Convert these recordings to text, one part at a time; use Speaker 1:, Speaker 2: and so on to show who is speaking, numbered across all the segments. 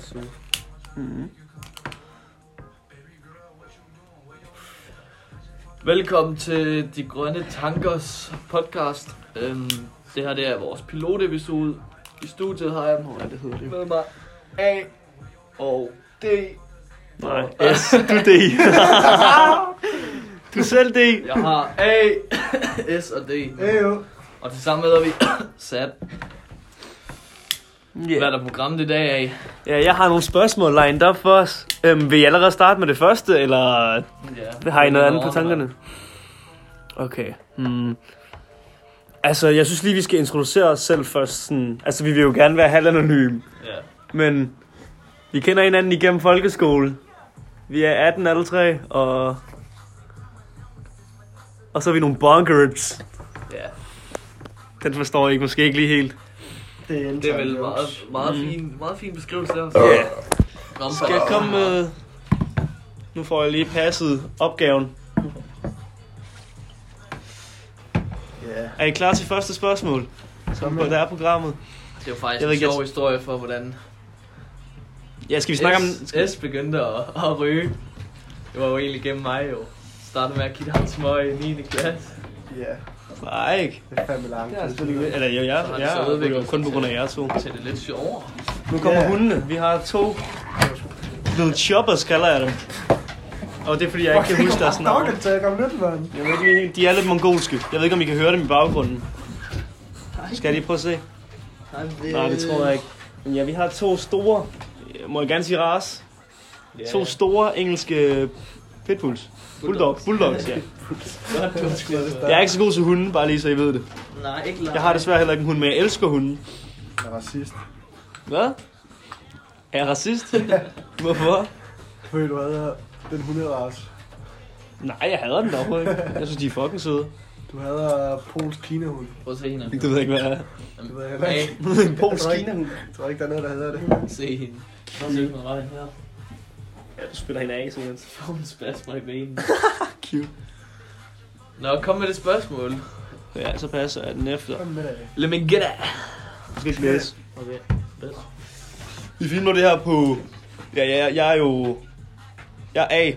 Speaker 1: stue.
Speaker 2: Mm.
Speaker 1: Velkommen til De Grønne Tankers podcast. Øhm, det her det er vores pilotepisode. I studiet har jeg
Speaker 2: Nå, ja, det hedder det jo.
Speaker 1: med mig A og D.
Speaker 2: Nej, S, du D. du er selv D.
Speaker 1: Jeg har A, S og D.
Speaker 3: Ejo.
Speaker 1: Og til sammen hedder vi Sat. Hvad
Speaker 2: Yeah.
Speaker 1: er der programmet i dag af?
Speaker 2: Ja, jeg har nogle spørgsmål lined up for os. Øhm, vil I allerede starte med det første, eller
Speaker 1: Ja,
Speaker 2: har I noget andet på tankerne? Okay. Hmm. Altså, jeg synes lige, vi skal introducere os selv først. Sådan. Altså, vi vil jo gerne være halvanonyme,
Speaker 1: Ja.
Speaker 2: men vi kender hinanden igennem folkeskole. Vi er 18 alle tre, og... Og så er vi nogle bunkerips.
Speaker 1: ja.
Speaker 2: Den forstår I måske ikke lige helt.
Speaker 3: Det er,
Speaker 1: Det er vel meget, meget,
Speaker 2: Mm.
Speaker 1: fin, meget fin beskrivelse af os.
Speaker 2: Ja.
Speaker 1: Nå, men-
Speaker 2: Skal jeg komme med... Nu får jeg lige passet opgaven.
Speaker 3: Ja.
Speaker 2: Er I klar til første spørgsmål? Som på det her programmet.
Speaker 1: Det er jo faktisk
Speaker 2: Jeg ved
Speaker 1: en
Speaker 2: ikke,
Speaker 1: sjov
Speaker 2: jeg-
Speaker 1: historie for, hvordan
Speaker 2: Ja, skal vi snakke om...
Speaker 1: S, S begyndte at, at ryge. Det var jo egentlig gennem mig jo. Startede med at kigge hans smøg i 9. klasse.
Speaker 3: Ja,
Speaker 2: Nej, ikke.
Speaker 3: det er fandme langt.
Speaker 1: Det er altså
Speaker 3: lidt.
Speaker 2: Eller jo, jeg,
Speaker 1: Så har
Speaker 2: jeg,
Speaker 1: det så
Speaker 2: jeg
Speaker 1: udviklet
Speaker 2: ryger jo kun
Speaker 1: sig
Speaker 2: på grund af
Speaker 1: til-
Speaker 2: jer to.
Speaker 1: Til det lidt sjovere.
Speaker 2: Nu kommer
Speaker 3: Ja.
Speaker 2: hundene. Vi har to little choppers, kalder jeg dem. Og det er fordi, jeg ikke kan huske deres navn.
Speaker 3: Dog, det om lidt, mand.
Speaker 2: Jeg ved ikke lige helt- De er lidt mongolske. Jeg ved ikke, om I kan høre dem i baggrunden. Skal jeg lige prøve at se? Nej, det tror jeg ikke. Men ja, vi har to store, øh, må jeg gerne sige ras,
Speaker 1: Ja.
Speaker 2: to store engelske pitbulls. Bulldogs. Bulldogs, ja.
Speaker 1: Godt, du skulle det.
Speaker 2: Jeg er ikke så god til hunde, bare lige så I ved det.
Speaker 1: Nej, ikke langt.
Speaker 2: Jeg har desværre heller ikke en hund, men jeg elsker hunde.
Speaker 3: Jeg var sidst.
Speaker 2: Hvad? Er jeg racist? Hvorfor?
Speaker 3: Ved du hvad, den hunderas.
Speaker 2: Nej, jeg hader den dog ikke. Jeg synes, de er fucking søde.
Speaker 3: Du havde polsk kinahund.
Speaker 1: Prøv at se hende.
Speaker 2: Det ved jeg ikke, hvad jeg er.
Speaker 3: Det ved jeg heller ikke.
Speaker 2: En polsk kinahund.
Speaker 3: Jeg tror ikke, der er noget, der hedder det.
Speaker 1: A, se hende. Prøv at se hende ret her.
Speaker 2: Ja, du spiller hende af, simpelthen.
Speaker 1: Får hun spasmer i benen.
Speaker 2: Cute.
Speaker 1: Nå, kom med det spørgsmål.
Speaker 2: Ja, så passer jeg altså den efter.
Speaker 3: Kom med dig.
Speaker 1: Let me get it.
Speaker 2: Jeg skal ikke læse.
Speaker 1: Okay.
Speaker 2: Vi filmer det her på... Ja, ja, jeg, jeg er jo... Jeg er A.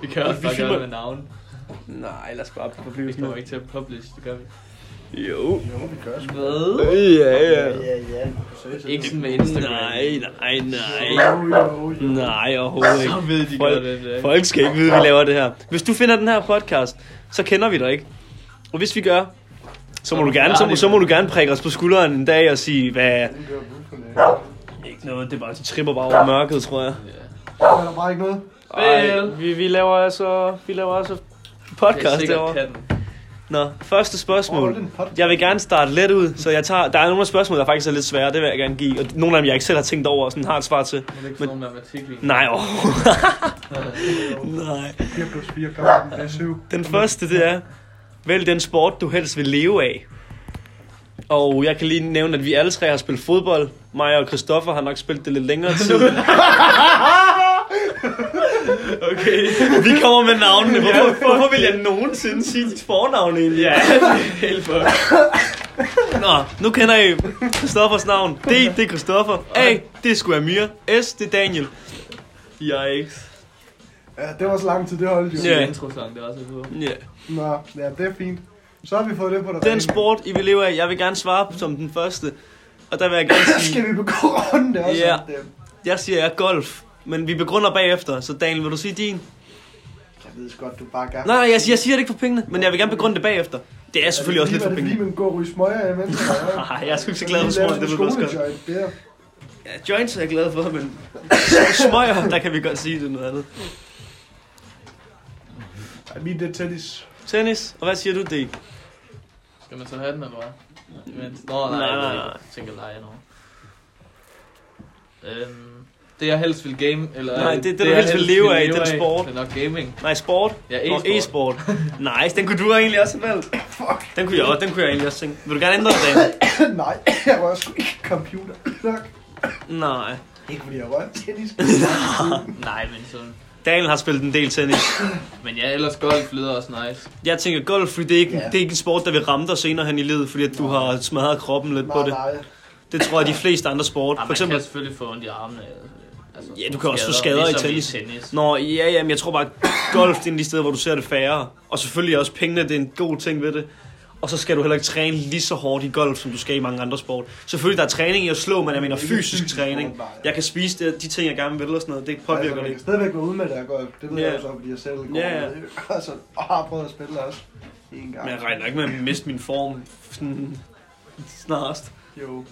Speaker 1: Vi kan også
Speaker 2: Vi
Speaker 1: bare gøre
Speaker 2: filmer-
Speaker 1: det med navn.
Speaker 2: Nej, lad os bare
Speaker 1: Vi
Speaker 2: forblive
Speaker 1: kommer ikke til at publish, det gør vi.
Speaker 2: Jo.
Speaker 3: Jo, vi gør sgu.
Speaker 1: Hvad?
Speaker 2: Ja,
Speaker 3: ja. ja. Seriøst,
Speaker 1: Ikke
Speaker 3: det
Speaker 1: sådan med Instagram.
Speaker 2: Nej, nej,
Speaker 3: er-
Speaker 2: nej.
Speaker 3: Jo, jo, jo.
Speaker 2: Nej, overhovedet
Speaker 1: Så
Speaker 2: ikke.
Speaker 1: ved de
Speaker 2: Folk-
Speaker 1: godt, hvem det er.
Speaker 2: Folk skal ikke vide, at vi laver det her. Hvis du finder den her podcast, så kender vi dig ikke. Og hvis vi gør, så må, du gerne, så, må, så må du gerne prikke os på skulderen en dag og sige, hvad...
Speaker 3: Den gør brug for det.
Speaker 2: Ikke noget, det er bare, de tripper bare over mørket, tror jeg.
Speaker 1: Ja.
Speaker 3: Er der bare ikke noget?
Speaker 2: Ej,
Speaker 1: Vel.
Speaker 2: vi, vi laver altså, vi laver altså
Speaker 1: Det er
Speaker 2: podcast
Speaker 1: sikkert
Speaker 2: derovre.
Speaker 1: katten.
Speaker 2: Nå, første
Speaker 3: Åh,
Speaker 2: spørgsmål.
Speaker 3: den podcast.
Speaker 2: Jeg vil gerne starte let ud, så jeg tager... Der er nogle af spørgsmål, der faktisk er lidt svære, det vil jeg gerne give. Og nogle af dem, jeg ikke selv har tænkt over og sådan har et svar til.
Speaker 1: Må det ikke få noget matematik lige?
Speaker 2: Nej, åh,
Speaker 3: Jo,
Speaker 2: nej.
Speaker 3: 4 plus 4, kom med den. Det er 7.
Speaker 2: Den første, det er, vælg den sport, du helst vil leve af. Og jeg kan lige nævne, at vi alle tre har spillet fodbold. Mig og Christoffer har nok spillet det lidt længere tid. okay. Vi kommer med navnene. Hvorfor, hvorfor vil jeg nogensinde sige dit fornavn egentlig? Ja, helt for. Nå, nu kender I Christoffers navn. D, det er Christoffer. A, det er sgu Amir. S, det er Daniel. Yikes.
Speaker 3: Ja, det var så lang tid, det holdt jo.
Speaker 1: Det er
Speaker 2: Ja.
Speaker 1: en intro-sang, det er også på.
Speaker 2: Ja. Yeah.
Speaker 3: Nå, ja, det er fint. Så har vi fået det på dig.
Speaker 2: Den sport, I vil leve af, jeg vil gerne svare på som den første. Og der vil jeg gerne sige,
Speaker 3: Skal vi begå runden? Det er også
Speaker 2: Ja.
Speaker 3: sådan, det er-
Speaker 2: jeg siger, jeg er golf. Men vi begrunder bagefter, så Daniel, vil du sige din?
Speaker 3: Jeg ved sgu godt, du bare gerne...
Speaker 2: Nej, nej, jeg, siger- jeg siger det ikke for pengene, men jeg vil gerne begrunde det bagefter. Det er selvfølgelig også lidt for
Speaker 3: Er Altså,
Speaker 2: pengene.
Speaker 3: det lige med en god ryge smøger imens?
Speaker 2: Nej, jeg er sgu ikke så glad for smøger, det ved du også godt.
Speaker 3: godt.
Speaker 2: Ja, joints er jeg glad for, men smøger, der kan vi godt sige det er noget andet.
Speaker 3: Ej, min det er tennis.
Speaker 2: Tennis, og hvad siger du, D?
Speaker 1: Skal man så have den, eller hvad? Imens. Nå, nej,
Speaker 2: Nej,
Speaker 1: nej,
Speaker 2: nej,
Speaker 1: nej.
Speaker 2: nej.
Speaker 1: Jeg tænker lege nu. Øhm, det jeg helst vil game, eller... øh,
Speaker 2: Nej, det- det, du helst vil leve af, den sport.
Speaker 1: Det er nok gaming.
Speaker 2: Nej, sport.
Speaker 1: Ja,
Speaker 2: Nå,
Speaker 1: e-sport.
Speaker 2: e-sport. Nice, den kunne du egentlig også have valgt.
Speaker 3: Fuck.
Speaker 2: Den kunne jeg, også- den kunne jeg egentlig også tænke. Vil du gerne ændre det, Daniel?
Speaker 3: Nej, jeg rører sgu ikke computer. Tak.
Speaker 2: Nej.
Speaker 3: Ikke fordi jeg rører tennis.
Speaker 1: Nej, men sådan...
Speaker 2: Daniel har spillet en del tennis.
Speaker 1: Men ja, ellers golf lyder også nice.
Speaker 2: Jeg tænker golf, fordi det er ikke,
Speaker 3: Ja.
Speaker 2: det er ikke en sport, der vil ramme dig senere hen i livet, fordi at du har smadret kroppen lidt på
Speaker 3: Nej,
Speaker 2: det.
Speaker 3: nej.
Speaker 2: Det tror jeg, de fleste andre
Speaker 1: Ah,
Speaker 2: sport.
Speaker 4: Ej,
Speaker 2: For
Speaker 4: man
Speaker 2: eksempel...
Speaker 4: kan selvfølgelig få ondt i armene. Altså,
Speaker 2: Ja, du kan også få skader i
Speaker 4: ligesom
Speaker 2: tennis.
Speaker 4: tennis.
Speaker 2: Nå, ja, ja, men jeg tror bare, at golf det er en af de steder, hvor du ser det færre. Og selvfølgelig også pengene, det er en god ting ved det. Og så skal du heller ikke træne lige så hårdt i golf, som du skal i mange andre sport. Selvfølgelig, der er træning i at slå, men jeg mener
Speaker 3: Ikke
Speaker 2: fysisk træning.
Speaker 3: sport, nej.
Speaker 2: Jeg kan spise det, de ting, jeg gerne vil og sådan noget. Det
Speaker 3: altså,
Speaker 2: påvirker
Speaker 3: man
Speaker 2: det
Speaker 3: kan
Speaker 2: ikke.
Speaker 3: stadigvæk være ude med det, jeg går. Det ved
Speaker 2: Ja.
Speaker 3: jeg jo så, fordi jeg selv går
Speaker 2: Ja, ja.
Speaker 3: yeah. med det. Altså, og har prøvet at spille også. En gang.
Speaker 2: Men jeg regner ikke med at miste min form sådan snarest.
Speaker 3: Jo.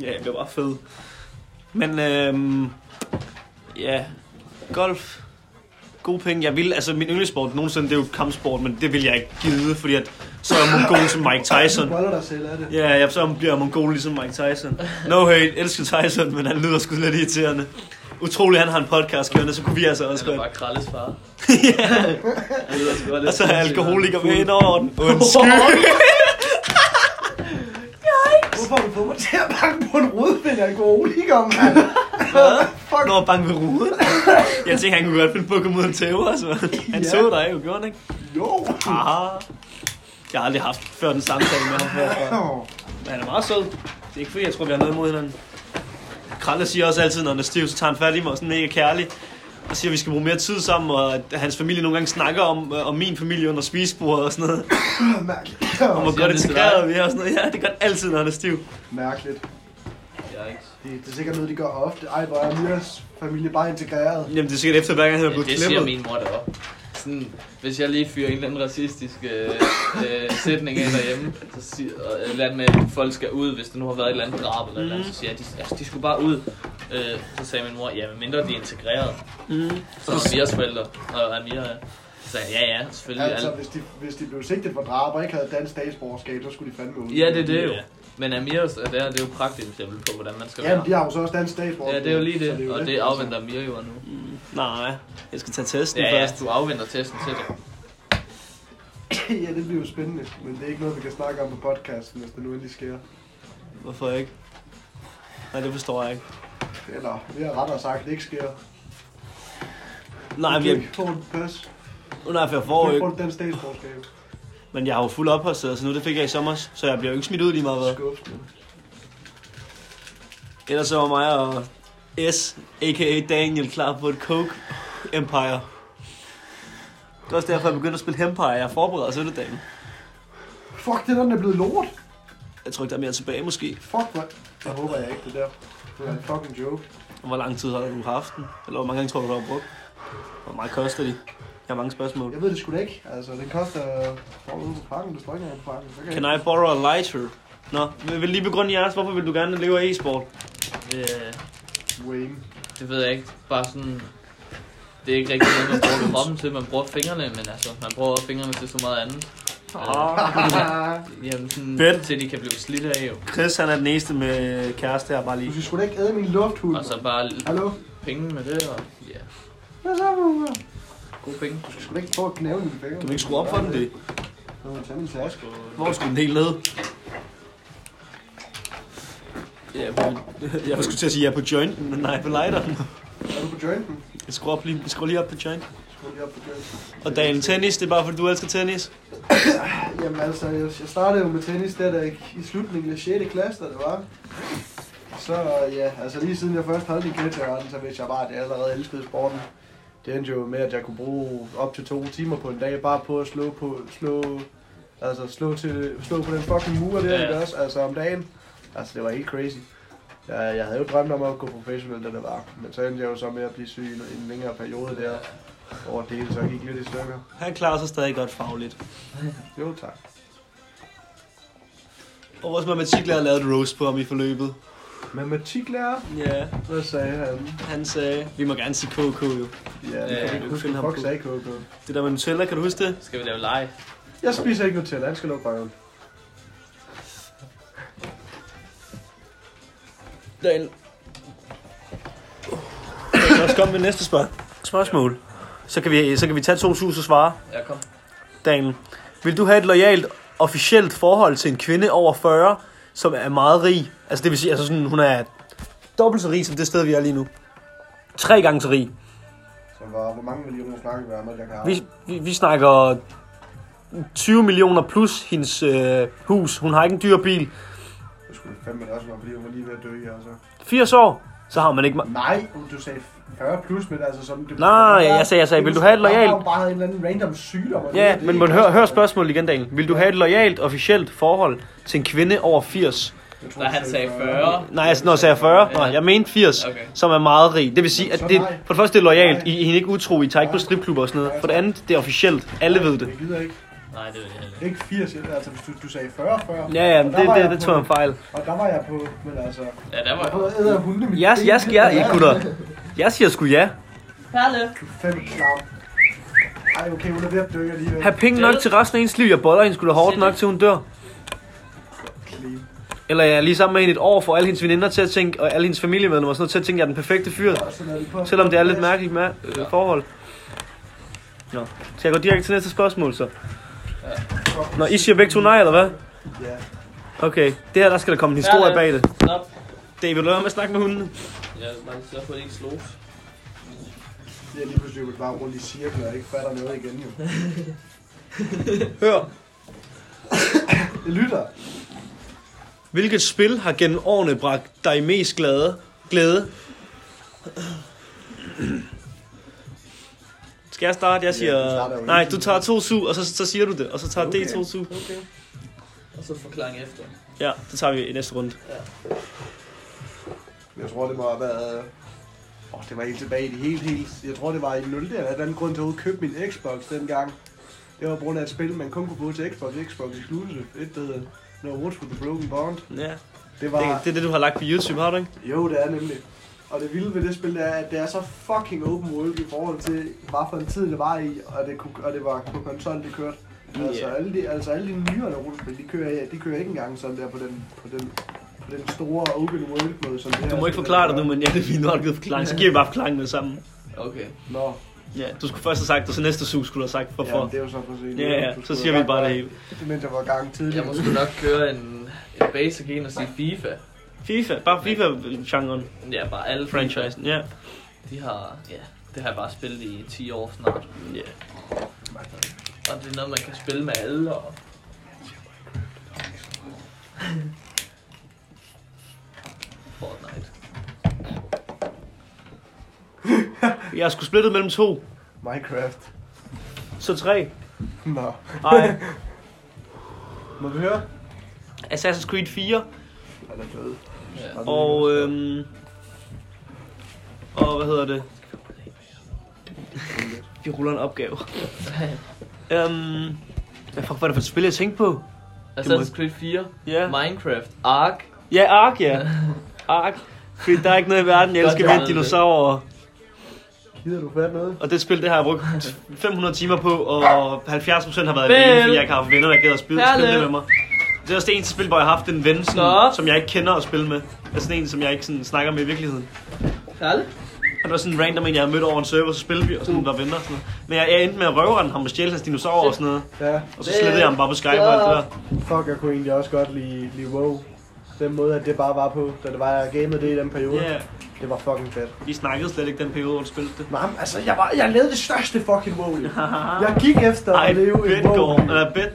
Speaker 2: Ja, jeg bliver bare fed. Men øhm, ja, golf, gode penge. Jeg vil, altså min yndlingssport nogensinde, det er jo kampsport, men det vil jeg ikke gide, fordi at, så er jeg mongol som Mike
Speaker 3: Du
Speaker 2: Tyson.
Speaker 3: boller dig selv af det.
Speaker 2: Ja, jeg så bliver jeg mongol ligesom Mike Tyson. No hate, elsker Tyson, men han lyder sgu lidt irriterende. Utrolig, han har en podcast kørende, så kunne vi altså også
Speaker 1: Han er
Speaker 2: godt.
Speaker 1: bare Kralles far.
Speaker 2: ja,
Speaker 1: Han lyder sgu bare lidt
Speaker 2: og så er
Speaker 1: sindssyg.
Speaker 2: alkoholiker med ind over den. Undskyld.
Speaker 3: Hvorfor har du fået mig til at banke på en rødvind alkoholiker, mand? Fuck.
Speaker 2: Nå, bange ved ruden. Jeg tænkte, han kunne godt finde på at komme ud og tæve os, mand. Han
Speaker 3: Ja.
Speaker 2: så dig jo, gjorde han ikke?
Speaker 3: Jo.
Speaker 2: Aha. Jeg har aldrig haft før den samtale med ham herfra.
Speaker 3: Nå.
Speaker 2: Men han er meget sød. Det er ikke fordi, jeg tror, vi har noget imod hinanden. Kralle siger også altid, når han er stiv, så tager han fat i mig og sådan mega kærlig. Og siger, at vi skal bruge mere tid sammen, og at hans familie nogle gange snakker om, øh, om min familie under spisebordet og sådan noget.
Speaker 3: Mærkeligt.
Speaker 2: Om hvor
Speaker 1: Siger
Speaker 2: godt
Speaker 1: han det til
Speaker 2: integreret vi er og sådan noget. Ja, det gør han altid, når han er stiv.
Speaker 3: Mærkeligt.
Speaker 1: Jeg er ikke.
Speaker 3: Det, det er sikkert noget, de gør ofte. Ej, hvor er Miras familie bare integreret.
Speaker 2: Jamen, det er sikkert efter, hver gang han er
Speaker 1: Ja,
Speaker 2: blevet
Speaker 1: det siger
Speaker 2: klippet.
Speaker 1: min mor da også. Sådan, hvis jeg lige fyrer en eller anden racistisk øh, øh, sætning af derhjemme, så siger, og et eller andet med, at folk skal ud, hvis der nu har været et eller andet drab eller mm. eller andet, så siger jeg, de, altså, de skulle bare ud. Øh, så sagde min mor, ja, men mindre de er integreret,
Speaker 2: Mm.
Speaker 1: så er Mias forældre, og Amira, ja. Så sagde jeg, ja, ja, selvfølgelig.
Speaker 3: Altså,
Speaker 1: Altså,
Speaker 3: hvis de, hvis de blev sigtet for drab og ikke havde dansk statsborgerskab, så skulle de fandme ud.
Speaker 1: ja, det er det jo.
Speaker 2: Ja.
Speaker 1: Men Amiras er der, det er jo et praktisk eksempel på, hvordan man skal
Speaker 3: Jamen,
Speaker 1: være.
Speaker 3: de har jo så også dansk statsborgerskab.
Speaker 1: Ja, det er jo lige
Speaker 3: så
Speaker 1: det, og det
Speaker 3: altså.
Speaker 1: afventer Amira jo nu.
Speaker 2: Nej, jeg skal tage testen
Speaker 1: Ja, ja,
Speaker 2: først.
Speaker 1: du afventer testen til det.
Speaker 3: ja, det bliver jo spændende, men det er ikke noget, vi kan snakke om på podcasten, hvis det nu endelig sker.
Speaker 2: Hvorfor ikke? Nej, det forstår jeg ikke.
Speaker 3: Eller, vi har rettere sagt, det ikke sker.
Speaker 2: Nej,
Speaker 3: Du
Speaker 2: vi er...
Speaker 3: ikke får et pas.
Speaker 2: Nej, for jeg
Speaker 3: Du
Speaker 2: får
Speaker 3: ikke
Speaker 2: ikke.
Speaker 3: får et dansk statsborgerskab.
Speaker 2: Men jeg har jo fuld opholdstilladelse nu, det fik jeg i sommer, så jeg bliver jo ikke smidt ud lige meget hvad.
Speaker 3: Skuffende.
Speaker 2: Ellers så var mig og S, a.k.a. Daniel, klar på et Coke Empire. Det er også derfor, jeg begyndte at spille Hempire. Jeg forbereder sig til dagen.
Speaker 3: Fuck, det der, den er blevet lort.
Speaker 2: Jeg tror ikke, der er mere tilbage måske.
Speaker 3: Fuck, hvor... Jeg håber jeg ikke, det der. Det er en fucking joke.
Speaker 2: Og Hvor lang tid har du haft den? Eller hvor mange gange tror du, du har brugt? Hvor meget koster de? Jeg har mange spørgsmål.
Speaker 3: Jeg ved det sgu da ikke. Altså, den koster... Hvor ude på pakken, det står ikke engang på pakken. Så kan
Speaker 2: Can I borrow a lighter? Nå, vil vil lige begrunde jeres, hvorfor vil du gerne leve af e-sport?
Speaker 1: Øh,
Speaker 3: Wayne.
Speaker 1: Det ved jeg ikke. Bare sådan... Det er ikke rigtig noget, man bruger kroppen til. Man bruger fingrene, men altså, man bruger også fingrene til så meget andet. Øh, jamen, sådan,
Speaker 2: Fedt.
Speaker 1: til de kan blive slidt af jo.
Speaker 2: Chris, han er den eneste med kæreste her, bare
Speaker 3: Du
Speaker 2: lige.
Speaker 3: skal sgu da ikke æde min lufthund.
Speaker 1: Og
Speaker 2: Altså-
Speaker 1: så bare l-
Speaker 3: Hallo?
Speaker 1: penge med det, og ja,
Speaker 3: Hvad så, Ruger?
Speaker 1: gode penge.
Speaker 3: Du skal sgu da ikke prøve at knæve dine fingre.
Speaker 2: Kan du ikke skrue op for den, det?
Speaker 3: Så må jeg tage min taske.
Speaker 2: Hvor skulle den helt ned? Ja, på, jeg skulle til at sige, jeg er på jointen, men nej, på lighteren.
Speaker 3: Er du på jointen?
Speaker 2: Jeg skruer, op lige, jeg skruer lige op på jointen.
Speaker 3: Skru lige op på jointen.
Speaker 2: Og Daniel, tennis, det er bare fordi, du elsker tennis.
Speaker 3: Jamen altså, jeg, jeg startede jo med tennis der, der i- i slutningen af 6. klasse, da det var. Så ja, altså lige siden jeg først havde det guitarretten, så vidste jeg bare, at jeg allerede elskede sporten. Det endte jo med, at jeg kunne bruge op til to timer på en dag, bare på at slå på, slå, altså slå, til, slå på den fucking mur der,
Speaker 1: Ja.
Speaker 3: ja. også, altså om dagen. Altså det var helt crazy. Jeg, jeg havde jo drømt om at gå professionel, da det var. Men så endte jeg jo så med at blive syg i en- en længere periode der. Over det hele, så gik lidt i stykker.
Speaker 2: Han klarer sig stadig godt fagligt.
Speaker 3: Jo tak.
Speaker 2: Og vores matematiklærer lavede et roast på ham i forløbet.
Speaker 3: Matematiklærer,
Speaker 2: Ja,
Speaker 3: Hvad sagde han?
Speaker 2: han sagde, vi må gerne sige KK jo.
Speaker 3: Ja,
Speaker 1: Ja,
Speaker 3: det kan
Speaker 1: du
Speaker 3: ikke
Speaker 2: kan
Speaker 3: huske,
Speaker 2: finde ham
Speaker 3: fuck
Speaker 2: på.
Speaker 3: sagde KK.
Speaker 2: Det der med Nutella, kan du huske det?
Speaker 1: Skal vi lave live?
Speaker 3: Jeg spiser ikke Nutella, han skal lukke røven.
Speaker 2: Daniel. Jeg kan også komme med næste spørg- spørgsmål. Så kan, vi, så kan vi tage 2.000 svare.
Speaker 1: Ja, kom.
Speaker 2: Daniel, vil du have et lojalt, officielt forhold til en kvinde over 40, som er meget rig? Altså det vil sige, altså sådan, hun er dobbelt så rig som det sted, vi er lige nu. Tre gange så rig.
Speaker 3: Så hvor, hvor mange millioner snakker vi om, at jeg kan have?
Speaker 2: Vi, vi, vi snakker 20 millioner plus hendes øh, hus. Hun har ikke en dyr bil.
Speaker 3: Det skulle skulle fandme også være, fordi hun var lige ved at dø her. Altså.
Speaker 2: 80 år, så har man ikke... ma-
Speaker 3: Nej, du sagde 40 plus, men altså sådan... Det,
Speaker 2: Nå, ja, jeg sagde- jeg sagde, vil du have et
Speaker 3: Jeg
Speaker 2: loyalt-
Speaker 3: har jo bare havde en eller anden random sygdom. og det er
Speaker 2: Ja,
Speaker 3: det
Speaker 2: men,
Speaker 3: ikke.
Speaker 2: men hør, hør spørgsmålet igen, Daniel. Vil du have et lojalt, officielt forhold til en kvinde over 80?
Speaker 3: Jeg tror,
Speaker 1: Da
Speaker 3: du
Speaker 1: han sagde 40.
Speaker 2: Nej, altså, når jeg sagde 40, nej, jeg mente 80,
Speaker 1: Okay.
Speaker 2: som er meget rig. Det vil sige, at
Speaker 3: Så
Speaker 2: det,
Speaker 3: nej.
Speaker 2: for det første det er lojalt,
Speaker 3: Nej.
Speaker 2: I, I er ikke utro, I tager ikke på stripklubber og sådan noget. For det andet, det er officielt, alle ved det.
Speaker 3: Jeg gider ikke.
Speaker 1: Nej, det vil jeg heller ikke.
Speaker 3: Ikke 80, jeg- altså hvis du, du sagde 40 før.
Speaker 2: Ja, ja,
Speaker 3: og
Speaker 2: det,
Speaker 3: der var
Speaker 2: det, det tog jeg en
Speaker 3: på,
Speaker 2: fejl.
Speaker 3: Og der var jeg på, men altså...
Speaker 1: Ja, der var
Speaker 3: Jeg prøvede at æde af hunde mit
Speaker 2: Jeg,
Speaker 3: ben.
Speaker 2: jeg, jeg, jeg, gutter, jeg siger sgu ja.
Speaker 1: Perle.
Speaker 3: Du er fandme klar. Ej, okay, hun er ved at dø alligevel.
Speaker 2: Have penge nok til resten af ens liv, jeg boller hende skulle hårdt nok til hun dør.
Speaker 3: Clean.
Speaker 2: Eller jeg er lige sammen med hende et år, får alle hendes veninder til at tænke, og alle hendes familiemedlemmer og sådan noget til at tænke, at jeg er den perfekte fyr.
Speaker 3: Og sådan er det på.
Speaker 2: Selvom det er lidt mærkeligt med, øh, forhold. Nå, så jeg går direkte til næste spørgsmål så. Nå, I siger begge to nej, eller hvad?
Speaker 3: Ja.
Speaker 2: Okay, det her, der skal der komme en historie bag det.
Speaker 1: Stop.
Speaker 2: David, vil du lade være med at snakke med hundene?
Speaker 1: Ja, man så på, at det ikke slås.
Speaker 3: Det er lige pludselig jo bare rundt i cirkler og ikke fatter noget igen jo.
Speaker 2: Hør,
Speaker 3: Det lytter.
Speaker 2: hvilket spil har gennem årene bragt dig mest glade? glæde? Skal jeg starte? Jeg
Speaker 3: Ja, du
Speaker 2: siger...
Speaker 3: starter jo
Speaker 2: nej,
Speaker 3: hele
Speaker 2: du
Speaker 3: tiden.
Speaker 2: tager to su, og så, så siger du det, og så tager
Speaker 1: Okay.
Speaker 2: okay. D to su.
Speaker 1: Okay. Og så forklaring efter.
Speaker 2: Ja, det tager vi i næste runde.
Speaker 3: Jeg tror, det må have været... Åh, det var helt tilbage i det helt, helt... Jeg tror, det var i 0. Jeg havde en anden grund til at overhovedet købe min Xbox dengang. Det var på grund af et spil, man kun kunne bruge til Xbox. Xbox Exclusive. Et, der hedder No Woods with the Broken Bond.
Speaker 2: Ja.
Speaker 3: Det
Speaker 2: Det,
Speaker 3: var...
Speaker 2: det er det, du har lagt på YouTube, har du ikke?
Speaker 3: Jo, det er nemlig. Og det vilde ved det spil, det er, at det er så fucking open world i forhold til, hvad for en tid det var i, og det, kunne, og det var på konsol, det kørte. Altså,
Speaker 2: Ja.
Speaker 3: alle de, altså alle de nyere rollespil, de kører, de kører ikke engang sådan der på den, på den, på den store open world måde. Som det
Speaker 2: Du
Speaker 3: her
Speaker 2: må ikke
Speaker 3: spil
Speaker 2: forklare
Speaker 3: gør.
Speaker 2: dig nu, men ja, det er fint, nu har du givet forklaring. Så giver vi bare forklaringen med det samme.
Speaker 1: Okay.
Speaker 3: Nå,
Speaker 2: Ja, du skulle først have sagt det, så næste uge skulle du have sagt,
Speaker 3: Hvorfor?
Speaker 2: hvorfor.
Speaker 3: Ja, det er jo så præcis.
Speaker 2: Ja, ja, så siger vi bare det hele.
Speaker 3: Det mente jeg var i gang tidligere.
Speaker 1: Jeg må sgu nok køre en, en basic en og sige FIFA.
Speaker 2: FIFA, bare FIFA-genren,
Speaker 1: Ja, bare alle
Speaker 2: franchisen, ja.
Speaker 1: De har, ja, det har jeg bare spillet i 10 år snart.
Speaker 2: ja.
Speaker 1: Og det er noget, man kan spille med alle. Og... Fortnite.
Speaker 2: Jeg skulle splittet mellem to,
Speaker 3: Minecraft.
Speaker 2: så tre.
Speaker 3: Nå.
Speaker 2: Ej,
Speaker 3: Må vi høre?
Speaker 2: Assassin's Creed 4
Speaker 3: Han er død.
Speaker 1: Ja.
Speaker 2: og... Øhm, og hvad hedder det? Vi ruller en opgave. Øhm, hvad fuck var det for et spil, jeg tænkte på?
Speaker 1: Assassin's Creed 4,
Speaker 2: Ja,
Speaker 1: Minecraft, Ark.
Speaker 2: ja Ark, ja. Ark. Fordi der er ikke noget i verden, jeg
Speaker 1: Godt,
Speaker 2: elsker
Speaker 1: jeg
Speaker 2: mere
Speaker 1: ved
Speaker 2: end
Speaker 1: det.
Speaker 2: dinosaurer. øh,
Speaker 3: Gider du fat noget?
Speaker 2: Og det spil, det har jeg brugt 500 timer på, og 70% har været alene,
Speaker 1: Bell.
Speaker 2: fordi jeg ikke har haft venner, der gider at spille,
Speaker 1: Perle.
Speaker 2: spille det med mig. Det er også det eneste spil, hvor jeg har haft en ven, sådan,
Speaker 1: Stop.
Speaker 2: som jeg ikke kender at spille med. Altså sådan en, som jeg ikke sådan, snakker med i virkeligheden.
Speaker 1: Alle?
Speaker 2: Og det var sådan en random en, jeg havde mødt over en server, så spillede vi og sådan var venner og sådan noget. Men jeg, jeg endte med at røve ham og stjæle hans dinosaurer og sådan noget.
Speaker 3: Ja.
Speaker 2: Og så slettede jeg ham bare på Skype og alt det der.
Speaker 3: Fuck, jeg kunne egentlig også godt lide, lide WoW. Den måde, at det bare var på, da det var, jeg gamede det i den periode.
Speaker 2: Ja, yeah.
Speaker 3: Det var fucking fedt.
Speaker 2: vi snakkede slet ikke den periode, hvor du spillede det.
Speaker 3: Nej, men altså, jeg, var, jeg lavede det største fucking WoW. jo. jeg gik efter
Speaker 2: Ej,
Speaker 3: at leve i WoW.
Speaker 2: Bedgaard, eller Bed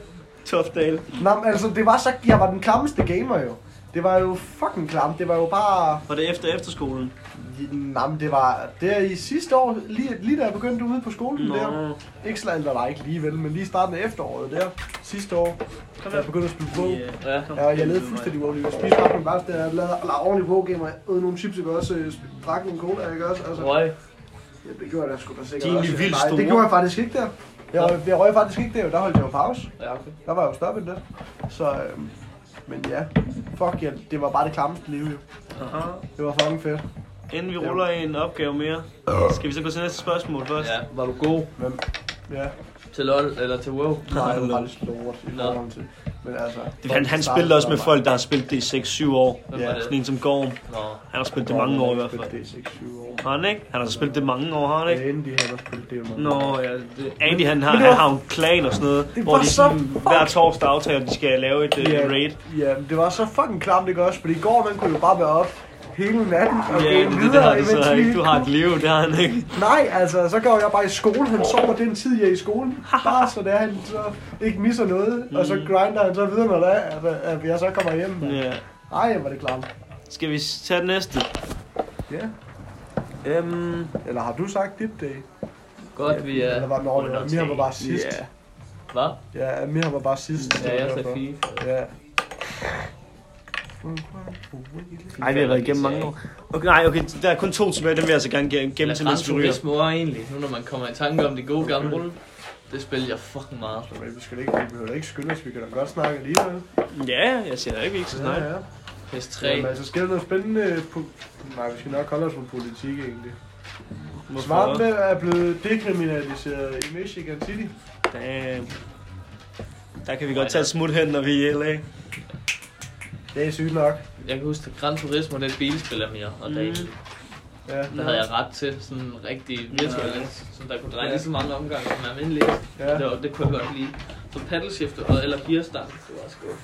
Speaker 2: Tofdale.
Speaker 3: Nej, men altså, det var så, jeg var den klammeste gamer jo. Det var jo fucking klamt. Det var jo bare...
Speaker 2: Var det efter efterskolen?
Speaker 3: Nej, men det var der i sidste år, lige, lige da jeg begyndte ude på skolen
Speaker 2: Nå.
Speaker 3: der. Ikke slet, eller nej, ikke alligevel, men lige i starten af efteråret der, sidste år,
Speaker 2: Kom
Speaker 3: da jeg begyndte at spille WoW. Yeah.
Speaker 1: Ja.
Speaker 3: Ja, og jeg lavede fuldstændig WoW. Jeg spiste bare min bare, der jeg lavede lavede ordentligt WoW-gamer. Jeg øvede nogle chips, ikke også? Jeg sp- drak nogle cola, ikke også? Altså,
Speaker 1: Røg.
Speaker 3: ja, det gjorde jeg da sgu da sikkert
Speaker 2: De er egentlig
Speaker 3: også.
Speaker 2: vildt
Speaker 3: Nej,
Speaker 2: store.
Speaker 3: det gjorde jeg faktisk ikke der. Jeg,
Speaker 1: Nå.
Speaker 3: røg, jeg røg faktisk ikke der, jo. der holdt jeg jo pause.
Speaker 1: Ja, okay.
Speaker 3: Der var jeg jo stoppet lidt. Så, øhm, men ja, fuck ja, det var bare det klammeste liv jo.
Speaker 2: Aha.
Speaker 3: Det var fucking fedt.
Speaker 2: Inden vi ruller en opgave mere, skal vi så gå til næste spørgsmål først?
Speaker 1: Ja, var du god
Speaker 3: Ja.
Speaker 1: til LoL eller til WoW?
Speaker 3: Nej, det var bare lidt lort i
Speaker 1: Nå.
Speaker 3: forhold til. Men altså,
Speaker 2: Det, han, han
Speaker 3: startede
Speaker 2: spillede også med
Speaker 3: bare-
Speaker 2: folk, der har spillet det i 6-7 år.
Speaker 1: Hvem
Speaker 3: Ja.
Speaker 1: var
Speaker 2: Sådan
Speaker 1: det?
Speaker 2: en som Gorm.
Speaker 1: Nå.
Speaker 2: Han har spillet det mange år i hvert fald.
Speaker 3: Det er 6-7 år.
Speaker 2: Har han ikke? Han har spillet det mange år, har han ikke?
Speaker 3: Det er inden de her, der spillet det jo meget.
Speaker 2: Nå, ja. Det, Andy, han har,
Speaker 3: Men det
Speaker 2: han
Speaker 3: var-
Speaker 2: har jo en klan og sådan noget,
Speaker 3: Det
Speaker 2: hvor
Speaker 3: var
Speaker 2: de
Speaker 3: så
Speaker 2: sådan, hver
Speaker 3: fuck-
Speaker 2: torsdag aftaler, at de skal lave et yeah.
Speaker 3: Ja.
Speaker 2: raid.
Speaker 3: Ja, men det var så fucking klamt, ikke også? Fordi i går, man kunne jo bare være op hele natten og
Speaker 2: Ja,
Speaker 3: game
Speaker 2: det, det, det har
Speaker 3: videre,
Speaker 2: du så
Speaker 3: vi
Speaker 2: ikke. Du har et liv, det har han ikke.
Speaker 3: Nej, altså, så går jeg bare i skole. Han sover den tid, jeg er i skolen. Bare så der, han så ikke misser noget. Og så grinder han så videre, når det er, at, at jeg så kommer hjem.
Speaker 2: Mm. Ja.
Speaker 3: Ej, var det klart.
Speaker 2: Skal vi tage den næste?
Speaker 3: Ja.
Speaker 2: Øhm,
Speaker 3: Eller har du sagt dit day?
Speaker 1: Godt, vi
Speaker 3: Eller
Speaker 1: er...
Speaker 3: var den ordentlig?
Speaker 1: under
Speaker 3: Amir var
Speaker 1: tre.
Speaker 3: bare sidst.
Speaker 2: ja.
Speaker 1: Hvad?
Speaker 3: Ja, Amir var bare sidst. så
Speaker 1: Ja,
Speaker 3: det var
Speaker 1: jeg sagde
Speaker 3: derfor.
Speaker 1: FIFA.
Speaker 3: Ja.
Speaker 2: Ej, vi har været igennem mange år. Okay, nej, okay, der er kun to tilbage, dem vil jeg så gerne ge- gemme
Speaker 1: Eller
Speaker 2: til, mens vi ryger.
Speaker 1: Turismo er egentlig, nu når man kommer i tanke om det gode gamle rulle. Det spiller jeg fucking meget.
Speaker 3: Men vi skal ikke, vi behøver da ikke skynde os, vi kan da godt snakke alligevel.
Speaker 2: Ja, jeg siger da ikke, vi ikke så snart.
Speaker 3: ja.
Speaker 1: PS3.
Speaker 3: Jamen, altså, sker der noget spændende på... Nej, vi skal nok holde os på politik, egentlig. Svarten
Speaker 2: Hvorfor?
Speaker 3: er blevet dekriminaliseret i Michigan City.
Speaker 2: Damn. Der kan vi godt tage et smut hen, når vi er i LA.
Speaker 3: Det er sygt nok.
Speaker 1: Jeg kan huske, at Gran Turismo, det er et bilspil af mere, og det
Speaker 2: Mm.
Speaker 3: Ja,
Speaker 1: der havde jeg ret til sådan en rigtig virtuel ja. som der kunne dreje
Speaker 3: Ja.
Speaker 1: lige så mange omgange som almindelig.
Speaker 3: ja.
Speaker 1: Det, var, det kunne jeg godt lide. Så paddleshifter og, eller gearstang, det var også godt.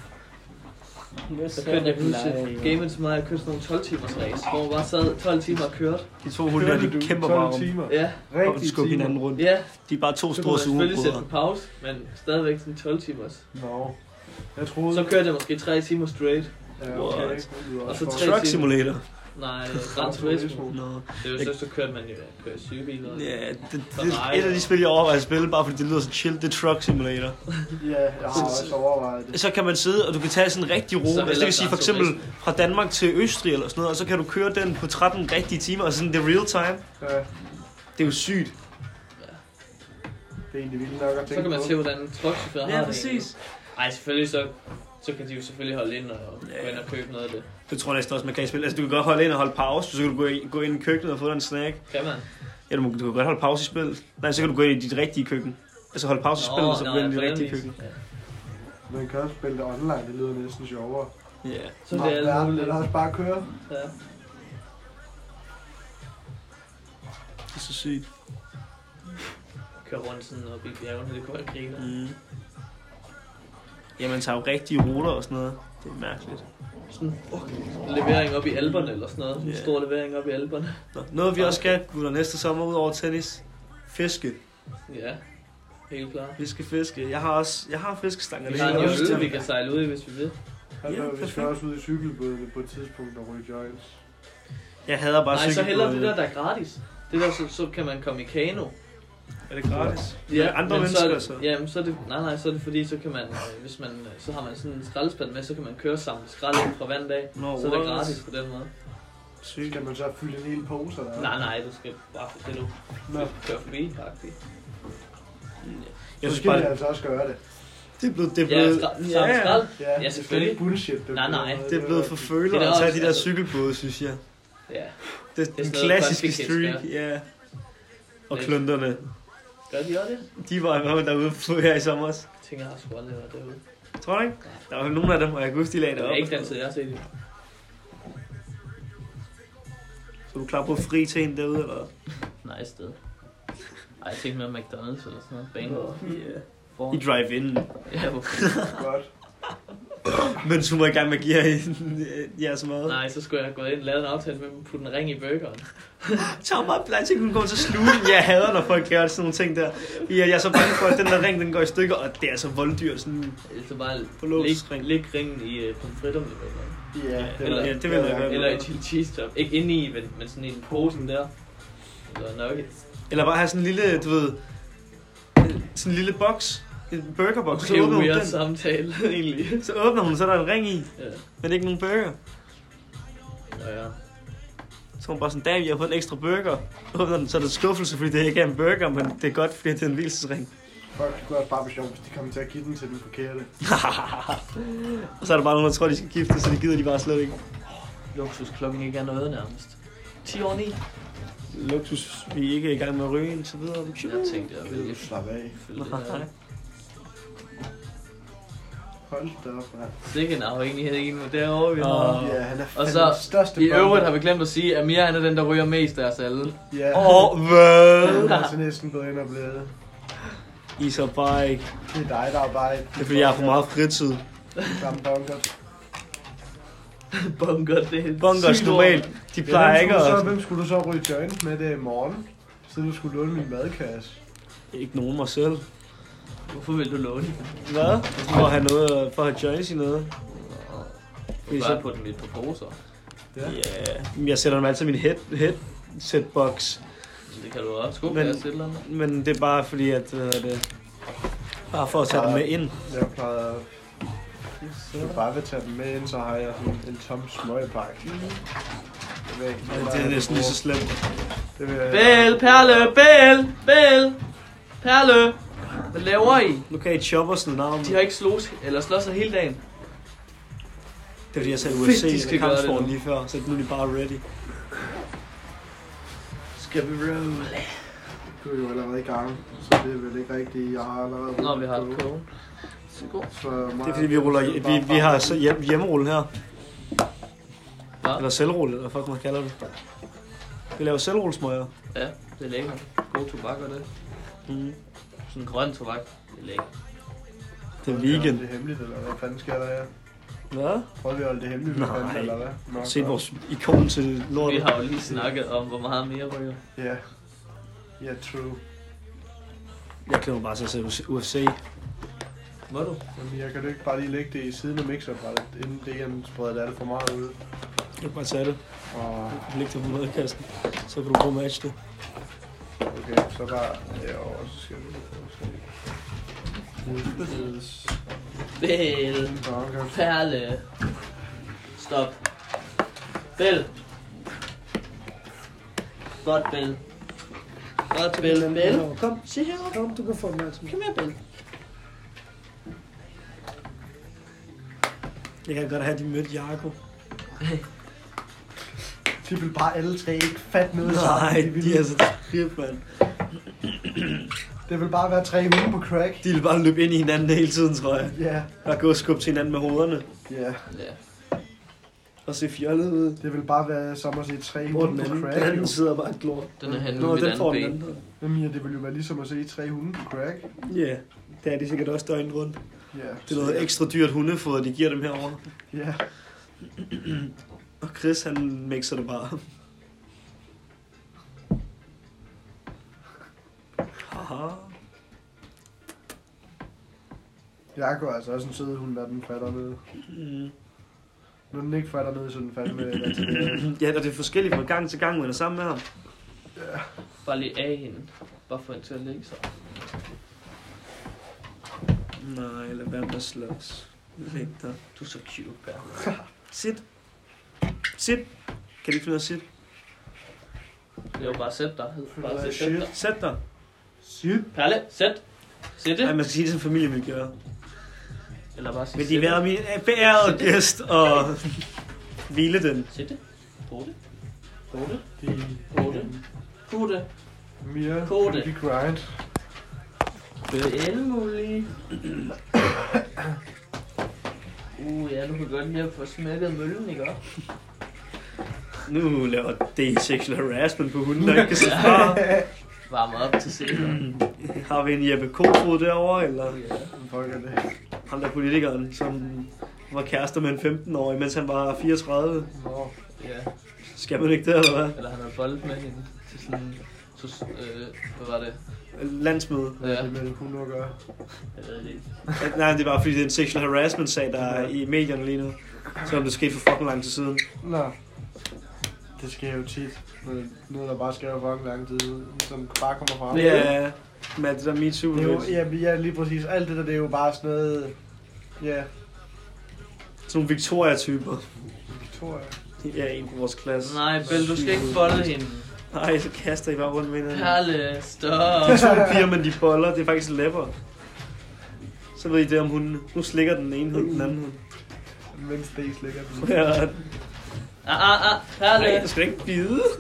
Speaker 1: Så kørte jeg huske gamet så meget, jeg kørte sådan nogle 12 timers race, hvor man bare sad 12 timer og kørte.
Speaker 2: De to hunde,
Speaker 3: Kørte du
Speaker 2: de kæmper
Speaker 3: 12
Speaker 2: bare om
Speaker 3: timer.
Speaker 1: Ja,
Speaker 2: om at
Speaker 3: Rigtig
Speaker 2: skubbe hinanden rundt.
Speaker 1: ja.
Speaker 2: De er bare to
Speaker 1: Så kunne
Speaker 2: store
Speaker 1: man selvfølgelig sætte
Speaker 2: sugebrødre.
Speaker 1: på pause, men stadigvæk sådan 12 timers.
Speaker 3: Nå. Jeg troede...
Speaker 1: Så kørte jeg måske 3 timer straight.
Speaker 3: Ja,
Speaker 2: What?
Speaker 3: okay. Du er
Speaker 1: Og så
Speaker 3: også
Speaker 1: tre-
Speaker 2: Truck Simulator.
Speaker 1: Nej, Gran Turismo.
Speaker 2: Nå.
Speaker 1: Det er jo så, så kørte man jo kører sygebiler.
Speaker 2: Ja, det, det,
Speaker 1: Så
Speaker 2: det,
Speaker 1: nej.
Speaker 2: et af de spil, jeg overvejer at spille, bare fordi det lyder så chill, det er Truck Simulator.
Speaker 3: for- Ja, jeg har også overvejet det.
Speaker 2: Så kan man sidde, og du kan tage sådan en rigtig rute.
Speaker 1: Så
Speaker 2: Altså, det
Speaker 1: hellere
Speaker 2: vil sige for
Speaker 1: Gran
Speaker 2: eksempel fra Danmark til Østrig eller sådan noget, og så kan du køre den på 13 rigtige timer, og sådan det er real time.
Speaker 3: Ja,
Speaker 2: Det er jo sygt.
Speaker 3: det er egentlig vildt nok at tænke
Speaker 1: Så kan man
Speaker 3: på.
Speaker 1: se, hvordan truckchauffører har det egentlig. Ej, selvfølgelig så, så kan de jo selvfølgelig holde ind og gå ind og købe noget af det.
Speaker 2: Det tror jeg næsten også, man kan i spil. Altså, du kan godt holde ind og holde pause, så kan du gå, i, gå ind i køkkenet og få dig en snack.
Speaker 1: Kan man?
Speaker 2: Ja, du, må- du kan godt holde pause i spillet. Nej, så kan du gå ind i dit rigtige køkken. Altså holde pause i spillet, og så gå
Speaker 1: ja,
Speaker 2: ind i
Speaker 1: på
Speaker 2: dit
Speaker 1: den
Speaker 2: rigtige
Speaker 1: vis.
Speaker 2: køkken.
Speaker 1: Ja.
Speaker 3: Man kan også spille det online, det lyder næsten sjovere.
Speaker 2: Ja.
Speaker 1: Så det er
Speaker 3: alt
Speaker 1: alt muligt.
Speaker 3: Eller også bare køre.
Speaker 1: Ja.
Speaker 2: Det er så sygt.
Speaker 1: Køre rundt sådan op i bjergene, det kunne være griner.
Speaker 2: Mm. Ja, man tager jo rigtige ruter og sådan noget. Det er mærkeligt.
Speaker 1: Sådan fucking levering op i alberne eller sådan noget.
Speaker 2: Ja.
Speaker 1: Yeah. Stor levering op i alberne.
Speaker 2: Nå, noget vi også skal, gutter, næste sommer ud over tennis. Fiske.
Speaker 1: Ja, helt klart.
Speaker 2: Fiske, fiske. Jeg har også, jeg har fiskestanger.
Speaker 1: Vi
Speaker 2: det
Speaker 1: har
Speaker 2: hele
Speaker 1: en
Speaker 2: året.
Speaker 1: jølle, vi kan sejle ud i, hvis vi vil.
Speaker 3: Altså,
Speaker 2: Ja,
Speaker 3: vi skal
Speaker 2: perfekt.
Speaker 3: også ud i cykelbådene på et tidspunkt og ryge joints.
Speaker 2: Jeg hader bare
Speaker 1: Nej, så
Speaker 2: cykelbåde.
Speaker 1: hellere det der, der er gratis. Det der, så, så kan man komme i kano.
Speaker 2: Er det gratis? Ja, andre
Speaker 1: men
Speaker 2: mennesker
Speaker 1: så.
Speaker 2: så.
Speaker 1: er det- Jamen, så er det, nej, nej, så er det fordi, så kan man, øh, hvis man, øh, så har man sådan en skraldespand med, så kan man køre sammen skrald ind fra hver dag.
Speaker 2: Nå,
Speaker 1: Så er det
Speaker 2: what?
Speaker 1: gratis på den måde.
Speaker 2: Sygt.
Speaker 3: Skal man så fylde en hel pose eller hvad?
Speaker 1: Nej, nej, du skal bare få det, du
Speaker 3: Nå,
Speaker 1: kører forbi, faktisk.
Speaker 2: Jeg
Speaker 3: så
Speaker 2: synes
Speaker 3: skal
Speaker 2: bare,
Speaker 3: vi altså også gøre det.
Speaker 2: det er blevet... Det er
Speaker 1: Ja,
Speaker 2: blevet,
Speaker 1: skrald, sammen skrald.
Speaker 3: Ja, det er
Speaker 1: selvfølgelig.
Speaker 3: ikke bullshit. Det er
Speaker 1: Nej, nej,
Speaker 3: blevet-
Speaker 2: det er blevet for føler
Speaker 1: Det er
Speaker 2: at tage
Speaker 1: også-
Speaker 2: de der
Speaker 1: altså-
Speaker 2: cykelbåde, synes jeg.
Speaker 1: Ja,
Speaker 2: Det er
Speaker 1: sådan
Speaker 2: den
Speaker 1: noget
Speaker 2: klassiske
Speaker 1: Config Kids
Speaker 2: streak, ja. Og
Speaker 1: Lidt.
Speaker 2: klunterne.
Speaker 1: gør de også det?
Speaker 2: De var i hvert fald derude på her i sommer.
Speaker 1: Jeg tænker, jeg har sgu aldrig været derude.
Speaker 2: Tror du ikke? Der var nogle af dem, og jeg kan huske, de lagde det
Speaker 1: Det
Speaker 2: op.
Speaker 1: er ikke den tid, jeg har set det.
Speaker 2: Så er du klar på fri til en derude, eller hvad?
Speaker 1: Nej, sted. Ej, jeg tænkte mere McDonald's eller sådan noget. Banehover.
Speaker 2: Yeah.
Speaker 1: Foran.
Speaker 2: I drive-in.
Speaker 1: Ja, hvorfor?
Speaker 3: Godt.
Speaker 2: Mens hun var i gang med at give jer en- jeres mad.
Speaker 1: Nej, så skulle jeg have gået ind og lavet en aftale med dem og putte en ring i burgeren.
Speaker 2: Tag mig plads, jeg kunne komme til at sluge den. Jeg hader, når folk gør sådan nogle ting der. Jeg, jeg er så bange for, at den der ring, den går i stykker, og det er så volddyrt. Sådan,
Speaker 1: Så bare
Speaker 2: På lås.
Speaker 1: læg, læg ringen i uh, pomfritterne. eller-
Speaker 3: Ja,
Speaker 1: eller-
Speaker 2: ja, det vil jeg
Speaker 1: Eller i chili cheese top. Ikke inde i, men, men sådan i en posen der. Eller nuggets.
Speaker 2: eller bare have sådan en lille, du ved, sådan en lille boks, en burgerboks, så
Speaker 1: Det er
Speaker 2: åbner
Speaker 1: jo
Speaker 2: hun
Speaker 1: weird
Speaker 2: den.
Speaker 1: samtale, egentlig.
Speaker 2: Så åbner hun, så er der en ring i,
Speaker 1: Ja.
Speaker 2: men ikke nogen burger.
Speaker 1: Nå ja.
Speaker 2: Så er hun bare sådan, damn, jeg har fået en ekstra burger. Åbner den, så er der skuffelse, fordi det ikke er en burger, men det er godt, fordi det er en hvilesesring.
Speaker 3: Folk skulle også bare være sjovt, hvis de kom til at give den til den forkerte.
Speaker 2: og så er der bare nogen, der tror, de skal gifte, så det gider de bare slet ikke.
Speaker 1: Luksusklokken ikke er noget nærmest. 10 år 9.
Speaker 2: Luksus, vi er ikke i gang med at ryge, og så videre.
Speaker 1: Jeg tænkte, jeg ville lige
Speaker 3: Slap af.
Speaker 1: fylde det her.
Speaker 3: Hold da op, mand.
Speaker 1: Sikke en afhængighed ikke nu derovre, vi har.
Speaker 2: Åh.
Speaker 3: Ja, han er
Speaker 1: Og
Speaker 3: fandme
Speaker 1: så,
Speaker 3: den største
Speaker 1: I øvrigt har
Speaker 3: vi...
Speaker 1: vi glemt at sige, at Mia han er den, der ryger mest af os alle.
Speaker 3: Ja,
Speaker 2: Åh, hvad?
Speaker 3: han er altså næsten blevet ind og blevet.
Speaker 2: I er så bare ikke.
Speaker 3: Det er dig, der er bare et...
Speaker 2: Det er fordi, jeg har for meget fritid.
Speaker 3: Bunker.
Speaker 1: Bunker, det er et
Speaker 2: Bunkers
Speaker 1: sygt ord.
Speaker 2: normalt, de plejer ikke
Speaker 3: at... Så,
Speaker 2: at...
Speaker 3: hvem skulle du så ryge joint med det i morgen? Siden du skulle låne min madkasse.
Speaker 2: Ikke nogen mig selv.
Speaker 1: Hvorfor vil du låne?
Speaker 2: Hvad? For at have noget, for at have joints i noget.
Speaker 1: Hvis jeg på dem i et par poser.
Speaker 2: Ja. Yeah. Jeg sætter dem altid i min head, headsetbox.
Speaker 1: Det kan du også. Skub
Speaker 2: Men-
Speaker 1: men... et eller andet.
Speaker 2: Men det er bare fordi, at hvad hedder det, bare for at tage dem med ind.
Speaker 3: Jeg plejer... Hvis jeg bare vil tage dem med ind, så har jeg sådan en tom smøgpakke.
Speaker 1: Mhm.
Speaker 3: Jeg ved ikke, hvor meget
Speaker 2: Det er
Speaker 3: jeg
Speaker 2: næsten lige
Speaker 3: bruger.
Speaker 2: så slemt.
Speaker 3: Det vil jeg...
Speaker 1: Bæl, perle, bæl, bæl, perle. Hvad laver I?
Speaker 2: Nu kan I choppe os navn.
Speaker 1: De har ikke slås, eller slås sig hele dagen.
Speaker 2: Det er fordi, jeg sagde
Speaker 1: Fedt,
Speaker 2: UFC
Speaker 1: de
Speaker 2: eller
Speaker 1: skal gøre det
Speaker 2: kampsporten
Speaker 1: nu.
Speaker 2: lige før, så nu er de bare ready.
Speaker 1: Skal vi roll?
Speaker 3: Du er jo allerede i gang, så det er vel ikke rigtigt. Jeg har allerede...
Speaker 1: Nå, vi har et kone. Så god.
Speaker 3: Så mig
Speaker 2: Det er fordi, vi, ruller, vi, vi har så hjem, hjemrulle her.
Speaker 1: Ja.
Speaker 2: Eller selvrulle, eller hvad fuck man kalder det. Vi laver selvrullesmøger.
Speaker 1: Ja, det er lækkert. God tobak og det.
Speaker 2: Mm.
Speaker 1: Sådan grøn tobak. Det er lækkert.
Speaker 2: Det er weekend.
Speaker 3: Det er hemmeligt, eller hvad fanden sker der her?
Speaker 2: Hvad?
Speaker 3: Prøver vi at holde det hemmeligt,
Speaker 2: Nej.
Speaker 3: hvad fanden, eller hvad? Nå,
Speaker 2: Se
Speaker 3: godt.
Speaker 2: vores ikon til
Speaker 1: Vi
Speaker 2: lortet.
Speaker 1: har jo lige snakket om, hvor meget mere ryger.
Speaker 3: Ja. Ja, true.
Speaker 2: Jeg glæder mig bare til at se UFC.
Speaker 1: Må du?
Speaker 3: Jamen, jeg kan jo ikke bare lige lægge det i siden af mixerbrættet, inden DM spreder alt for meget ud.
Speaker 2: Jeg kan bare tage det.
Speaker 3: Og
Speaker 2: Læg det på madkassen. Så kan du bruge match det.
Speaker 3: okay, så bare herovre, så skal vi Udbedes.
Speaker 1: Bæl, perle. Stop. Bæl. Godt, Bæl. Godt, Bæl. Bæl.
Speaker 5: Kom,
Speaker 1: Se heroppe.
Speaker 5: kom, du kan få opmærksomhed.
Speaker 1: Kom her, Bæl.
Speaker 2: Jeg kan godt have, at de mødte Jaco.
Speaker 3: De vil bare alle tre ikke fatte noget
Speaker 2: Nej,
Speaker 3: sammen. vil,
Speaker 2: de er så trip, mand.
Speaker 3: Det vil bare være tre uger på crack.
Speaker 2: De vil bare løbe ind i hinanden hele tiden, tror jeg.
Speaker 3: Ja,
Speaker 2: Bare gå og skubbe til hinanden med hovederne.
Speaker 3: ja.
Speaker 1: Ja.
Speaker 2: Og se fjollet ud.
Speaker 3: Det vil bare være som at se tre
Speaker 2: Hvor
Speaker 3: hunde
Speaker 2: den
Speaker 3: på
Speaker 2: anden, den
Speaker 3: crack.
Speaker 2: anden
Speaker 3: jo.
Speaker 2: sidder bare og glor.
Speaker 1: Den er henne
Speaker 2: Nå,
Speaker 1: ved mit
Speaker 2: den får
Speaker 1: andet
Speaker 2: den
Speaker 1: ben.
Speaker 2: anden.
Speaker 3: Jamen ja, det vil jo være ligesom at se tre hunde på crack.
Speaker 2: Ja, det er de sikkert også døgnet rundt.
Speaker 3: Ja.
Speaker 2: Det er noget ekstra dyrt hundefoder, de giver dem herovre.
Speaker 3: Ja.
Speaker 2: Og Chris, han mixer det bare. Haha.
Speaker 3: Jakob er altså også en sød hund, når den fatter ned.
Speaker 2: Mm.
Speaker 3: Når den ikke fatter ned, så er den fandme med.
Speaker 2: Ja, og det er forskelligt fra gang til gang, man er sammen med ham.
Speaker 1: Bare lige af hende. Bare få hende til at lægge sig.
Speaker 2: Nej, lad være med at slås. Læg dig.
Speaker 1: Du er så cute, Bæl.
Speaker 2: Sit. Sit. Kan du ikke finde ud af at sit?
Speaker 1: Det er jo bare at sætte dig. Bare at
Speaker 3: Shit.
Speaker 1: sætte dig.
Speaker 2: Sæt dig.
Speaker 3: Sygt.
Speaker 1: Perle, sæt. Sæt
Speaker 2: Nej,
Speaker 1: det.
Speaker 2: man skal sige det, som familie vil gøre.
Speaker 1: Eller bare sige
Speaker 2: Vil
Speaker 1: sæt
Speaker 2: de
Speaker 1: det.
Speaker 2: være min beærede gæst og hvile den?
Speaker 1: Sæt det. Brug det. Brug det.
Speaker 3: De,
Speaker 1: Brug det. Brug det.
Speaker 3: Mia,
Speaker 1: Kode.
Speaker 3: de grind.
Speaker 1: Det er alle mulige. Uh, ja, du kan godt lige at få smækket møllen, ikke også?
Speaker 2: Nu laver det sexual harassment på hunden, der ikke kan sige fra.
Speaker 1: Varme op til senere.
Speaker 2: Har vi en Jeppe Kofod derovre, eller
Speaker 1: Ja.
Speaker 3: Hvem Fuck er det.
Speaker 2: ham der politikeren, som var kærester med en 15-årig, mens han var 34.
Speaker 3: Nå.
Speaker 1: ja.
Speaker 2: Skal man ikke det, eller hvad?
Speaker 1: Eller han har boldet med hende til sådan... Så, øh, hvad var det?
Speaker 2: Landsmøde.
Speaker 3: Hvad er
Speaker 1: Ja,
Speaker 3: det med hun nu gør?
Speaker 1: jeg ved det ikke.
Speaker 2: Nej, det er bare fordi, det er en sexual harassment-sag, der er i medierne lige nu. Selvom det skete for fucking lang tid siden.
Speaker 3: Nå. Det sker jo tit. Men Noget, der bare sker for fucking lang tid, som bare kommer frem.
Speaker 2: Ja, med alt det der MeToo.
Speaker 3: Det er jo, ja, ja, lige præcis. Alt det der, det er jo bare sådan noget... Ja,
Speaker 2: Sådan nogle Victoria-typer.
Speaker 3: Victoria.
Speaker 2: Ja, en på vores klasse.
Speaker 1: Nej, Bell, du skal ikke bolde hende.
Speaker 2: Nej, så kaster I bare rundt med hinanden.
Speaker 1: Perle, stop.
Speaker 2: De to piger, men de boller, det er faktisk læpper. Så ved I det om hunden. Nu slikker den ene
Speaker 1: Mm.
Speaker 2: hund, den anden hund.
Speaker 3: Mens Days ligger den.
Speaker 2: Ja,
Speaker 1: Ah, ah, ah, perle.
Speaker 2: nej, du skal ikke bide.
Speaker 1: jo,